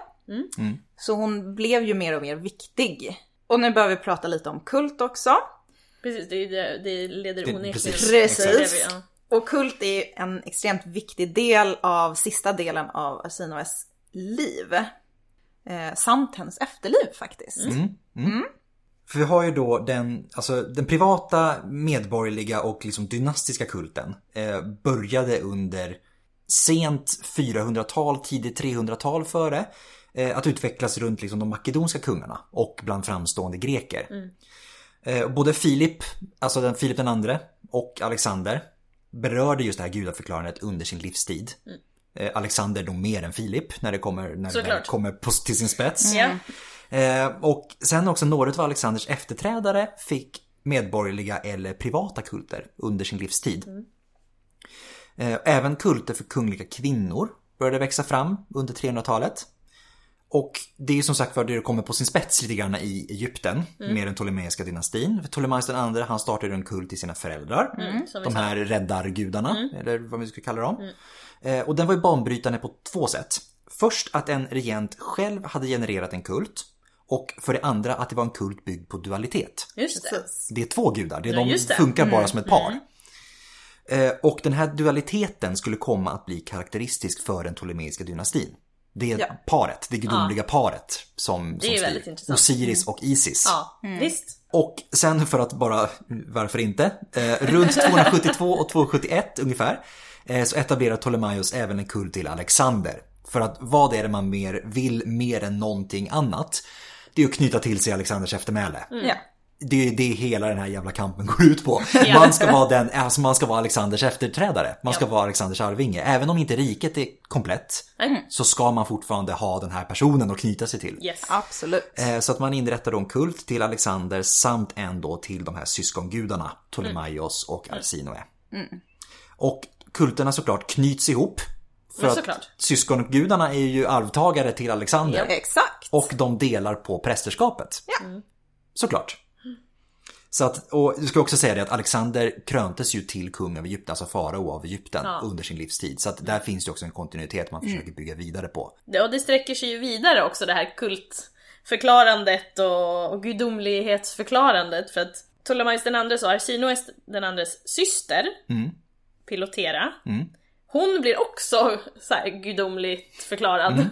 Så hon blev ju mer och mer viktig. Och nu börjar vi prata lite om kult också.
Precis, det, är ju det, det leder
Det-
onekligen
precis,
till det
exakt.
vi- ja.
Och kult är en extremt viktig del av sista delen av Arsinoes liv. Eh, samt hennes efterliv faktiskt.
Mm. För vi har ju då den, alltså den privata, medborgerliga och liksom dynastiska kulten eh, började under sent 400-tal, tidigt 300-tal före. Eh, att utvecklas runt liksom de makedonska kungarna och bland framstående greker. Eh, både Filip, alltså den Filip den andre och Alexander berörde just det här gudaförklarandet under sin livstid. Eh, Alexander då mer än Filip när det kommer, när, när det
Såklart.
kommer på, till sin spets.
Ja.
Eh, och sen också några av Alexanders efterträdare fick medborgerliga eller privata kulter under sin livstid. Eh, även kulter för kungliga kvinnor började växa fram under 300-talet. Och det är ju som sagt var det det kommer på sin spets lite grann i Egypten med den Ptolemeiska dynastin. För Ptolemaios den andra han startade en kult till sina föräldrar.
mm, som vi
De
Mm. sa.
här räddargudarna, eller vad vi ska kalla dem. Eh, och den var ju banbrytande på två sätt. Först att en regent själv hade genererat en kult. Och för det andra att det var en kult byggd på dualitet.
Just det.
Det är två gudar, det är
Ja,
de
just det. Mm.
funkar bara som ett par. Eh, Och den här dualiteten skulle komma att bli karaktäristisk för den Ptolemeiska dynastin. Det är
Ja.
paret, det gudomliga paret som,
är
som
ju
styr.
väldigt intressant. Mm.
Osiris och Isis.
Ja, visst.
Och sen för att bara, varför inte? Eh, runt 272 och 271 ungefär eh, så etablerar Ptolemaios även en kult till Alexander. För att vad är det man mer vill mer än någonting annat? Det är att knyta till sig Alexanders eftermäle.
Ja.
Det är ju det hela den här jävla kampen går ut på. Man ska vara, den, alltså man ska vara Alexanders efterträdare. Man ska vara Alexanders arvinge. Även om inte riket är komplett
Mm.
så ska man fortfarande ha den här personen att knyta sig till.
Yes.
Absolut.
Eh, Så att man inrättar då en kult till Alexander samt en då till de här syskongudarna, Ptolemaios
Mm.
och Arsinoe. Och kulterna såklart knyts ihop. För
Ja,
att
såklart.
syskongudarna är ju arvtagare till Alexander.
Exakt.
Och de delar på prästerskapet. Såklart. Så att, och jag ska också säga det att Alexander kröntes ju till kung av Egypten, alltså farao av Egypten
Ja. Mm.
under sin livstid. Så att där finns det också en kontinuitet man försöker bygga vidare på.
Ja, och det sträcker sig ju vidare också det här kultförklarandet och, och gudomlighetsförklarandet för att Ptolemaios den andres och Arsinoes den andres syster,
Mm.
Pilotera,
Mm.
hon blir också så här gudomligt förklarad.
Mm.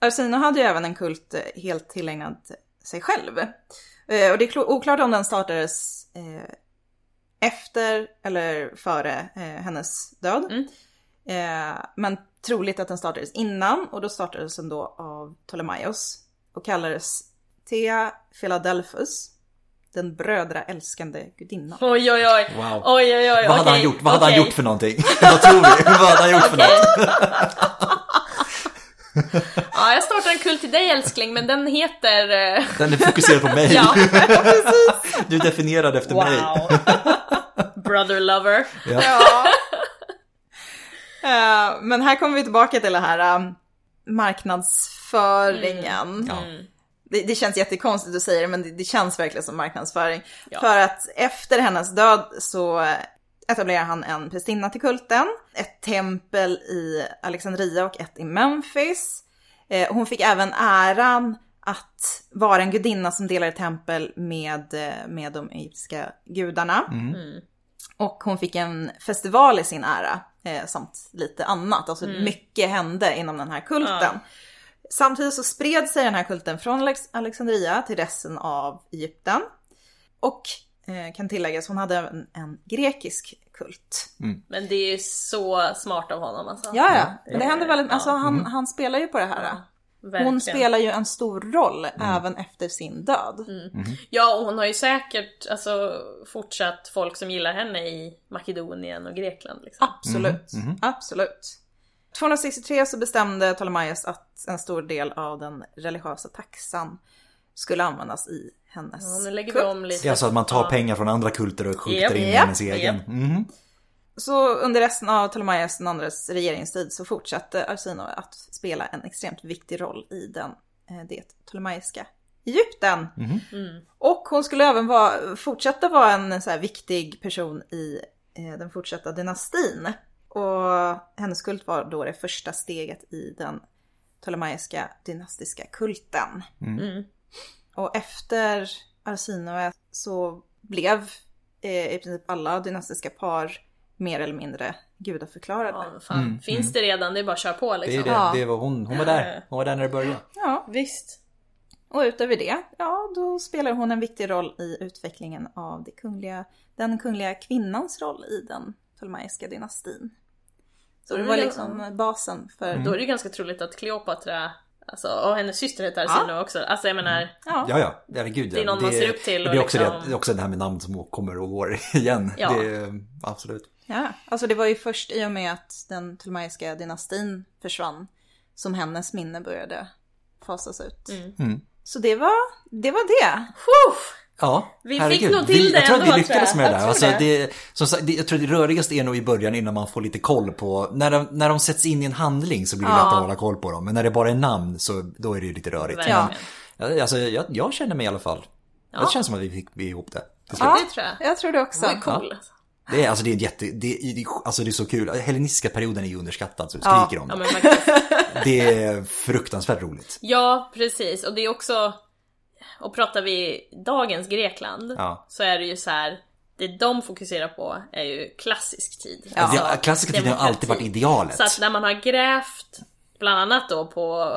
Arsino hade ju även en kult eh, helt tillägnad sig själv. Eh, Och det är klo- oklart om den startades eh, efter eller före eh, hennes död.
Mm.
Eh, men troligt att den startades innan och då startades den då av Ptolemaios och kallades Thea Philadelphus, den brödraälskande gudinnan.
<laughs> Oj oj oj.
Wow.
oj, oj, oj.
Vad hade han
okej,
gjort? Vad hade
okej.
han gjort för någonting? <laughs> Vad tror vi? Vad hade han gjort för
<laughs>
något?
Ja, jag startar en kult till dig älskling, men den heter...
<laughs>
eh,
Den är fokuserad på mig.
Ja,
Du är definierad efter mig.
wow. Brother lover.
Ja. <laughs> Eh, men här kommer vi tillbaka till det här eh, marknadsföringen.
Ja.
Det, det känns jättekonstigt att säga det, men det, det känns verkligen som marknadsföring.
Ja.
För att efter hennes död så eh, etablerar han en prästinna till kulten, ett tempel i Alexandria och ett i Memphis. Eh, Hon fick även äran att vara en gudinna som delade tempel med, eh, med de egyptiska gudarna. Och hon fick en festival i sin ära, eh, samt lite annat. Alltså mycket hände inom den här kulten. Samtidigt så spred sig den här kulten från Alex- Alexandria till resten av Egypten. Och eh, kan tilläggas, hon hade en, en grekisk kult.
Men det är ju så smart av honom alltså.
Ja, ja. Men det händer väldigt, alltså han, han spelar ju på det här. Hon
Mm. Verkligen. Mm.
spelar ju en stor roll även efter sin död.
Ja, och hon har ju säkert alltså, fortsatt folk som gillar henne i Makedonien och Grekland. Liksom.
Absolut, absolut. 263 så bestämde Ptolemaios att en stor del av den religiösa taxan skulle användas i hennes
Ja, nu lägger vi
kult.
om lite.
Det är alltså att man tar
Ja.
pengar från andra kulter och skjuter
Japp,
in i
japp,
ens egen. Mhm.
Så under resten av Ptolemaios den andres regeringstid så fortsatte Arsino att spela en extremt viktig roll i den, eh, det ptolemaiska Egypten. Och hon skulle även vara, fortsätta vara en så här viktig person i eh, den fortsatta dynastin. Och hennes kult var då det första steget i den ptolemaiska dynastiska kulten.
Mm.
Och efter Arsinoe så blev eh, i princip alla dynastiska par mer eller mindre gudaförklarade.
Ja, men fan. Finns det redan, det är bara att köra på
Mm. Det
liksom.
är
Ja.
det, det var hon. Hon var där. Hon var där när det började.
Ja,
Visst.
och utöver det, ja då spelar hon en viktig roll i utvecklingen av det kungliga, den kungliga kvinnans roll i den ptolemaiska dynastin. Så det var liksom basen för...
Mm.
Mm. Då är det ju ganska troligt att Kleopatra Alltså, och hennes syster heter Arsinoe också. Alltså jag menar,
Ja, ja, herregud.
Det är någon man ser upp till
Det
och
blir också,
liksom-
det, det är också det här med namn som kommer och går <laughs> igen.
Ja.
Det är, absolut.
Ja, alltså det var ju först i och med att den Ptolemaiska dynastin försvann som hennes minne började fasas ut.
Mm.
Så det var det. Var det.
Puff!
Ja,
Vi fick nog till
vi,
det
Jag tror att vi
ändå,
lyckades
tror
med
jag.
det där.
Jag
Alltså,
tror
det, som sagt, det, jag tror det rörigaste är nog i början innan man får lite koll på, när de, när de sätts in i en handling så blir det
Ja.
lätt att hålla koll på dem. Men när det bara är namn så då är det ju lite rörigt.
Verkligen.
Ja.
Ja, Alltså, jag, jag känner mig i alla fall,
Ja.
det känns som att vi fick ihop det. till slut.
Ja, det tror jag.
Jag tror det också.
Det var cool. alltså.
Det är, alltså, det är, en jätte, det, är, det är- alltså, det är så kul. Hellenistiska perioden är ju underskattad så vi
Ja.
skriker om
Ja,
det.
men faktiskt.
Det är fruktansvärt roligt.
ja, precis. Och det är också, och pratar vi dagens Grekland,
Ja.
så är det ju så här. Det de fokuserar på är ju klassisk tid.
Ja.
Alltså, klassiska tiden har alltid varit
demokrati.
idealet.
Så att när man har grävt Bland annat då på,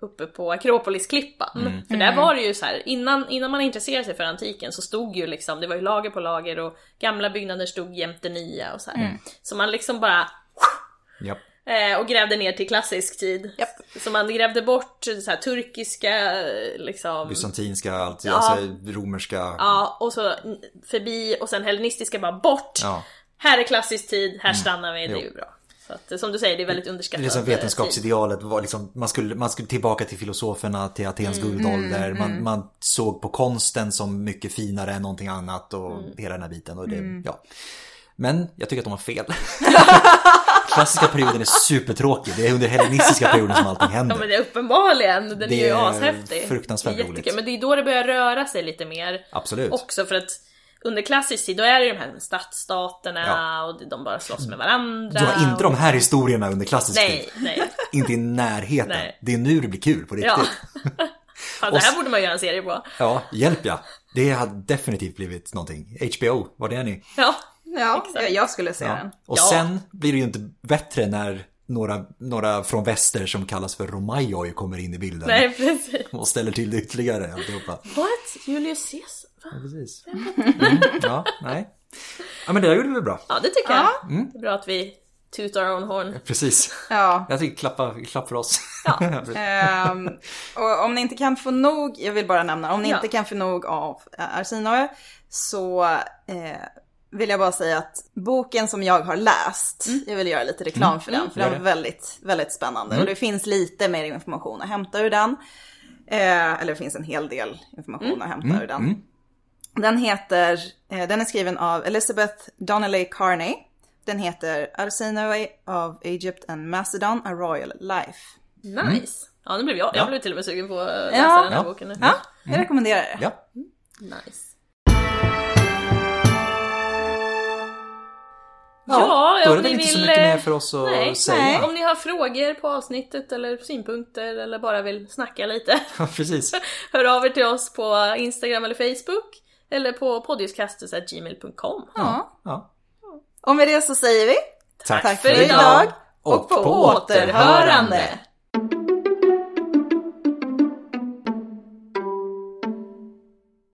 uppe på Akropolisklippan.
Mm.
För där var det ju så här, innan, innan man intresserade sig för antiken så stod ju liksom, det var ju lager på lager och gamla byggnader stod jämte nya och så här.
Mm.
Så man liksom bara
Japp.
Eh, och grävde ner till klassisk tid.
Japp.
Så man grävde bort så här, turkiska, eh, liksom...
Bysantinska, alltid, alltså romerska.
Ja, och så n- förbi och sen hellenistiska bara bort.
Ja. Mm.
Här är klassisk tid, här stannar vi, det är
Jo.
ju bra. Så att, som du säger, det är väldigt underskattat.
Det är liksom som
eh, tid.
vetenskapsidealet var liksom, man skulle, man skulle tillbaka till filosoferna, till Atens
Mm.
guldålder. Man, man såg på konsten som mycket finare än någonting annat och
Mm.
hela den här biten. Och det, ja. Men jag tycker att de har
<laughs>
fel. Klassiska perioden är supertråkig. Det är under hellenistiska perioden som allting
Ja men
händer.
det är uppenbarligen, den
Det
är ju
är
ashäftig.
fruktansvärt
Det är jättekul,
roligt.
Men det är då det börjar röra sig lite mer.
Absolut.
Också för att under klassisk tid, då är det ju de här stadsstaterna
Ja.
och de bara slåss med varandra.
Du har inte de här historierna under klassisk tid.
Nej, nej.
Inte i närheten.
Nej.
Det är nu det blir kul på riktigt.
Ja. <laughs> Fan,
Och
det
s-
här borde man göra en serie på.
Ja, hjälp ja. Det hade definitivt blivit någonting. HBO, var det är ni?
Ja.
Ja, jag, jag skulle se
Ja.
den.
Och
Ja.
sen blir det ju inte bättre när några, några från väster som kallas för Romajoj kommer in i bilden.
Nej precis.
Och ställer till det ytterligare alltihopa.
What? Julius Caesar?
Ja, precis. Mm, ja, nej. Ja, men det där gjorde vi bra.
Ja det tycker jag.
Mm.
Det är bra att vi toot our own horn.
Precis.
Ja.
Jag tycker klappa, klapp för oss. <laughs>
Ehm, och om ni inte kan få nog, jag vill bara nämna, om ni
Ja.
inte kan få nog av eh, Arsinoe så eh, vill jag bara säga att boken som jag har läst, jag vill göra lite reklam för den, för
Gör
den
det.
var väldigt, väldigt spännande. Och det finns lite mer information att hämta ur den. Eh, eller det finns en hel del information att hämta ur den. Den heter, eh, den är skriven av Elizabeth Donnelly Carney. Den heter Arsinoe of Egypt and Macedon, A Royal Life.
Nice. Ja nu blev jag, jag blev till och med sugen på att läsa
Ja.
den här
Mm. Ja.
boken nu.
Ja, jag rekommenderar det.
Ja,
Nice.
Ja,
Ja,
då är
om
det väl
ni
inte så
vill,
mycket
eh,
mer för oss att
nej,
säga.
Nej. Om ni har frågor på avsnittet eller synpunkter eller bara vill snacka lite, <laughs>
Ja, precis.
hör av er till oss på Instagram eller Facebook eller på poddiuskastus.gmail.com.
Ja.
Ja.
Och med det så säger vi
Tack,
tack för idag och på återhörande.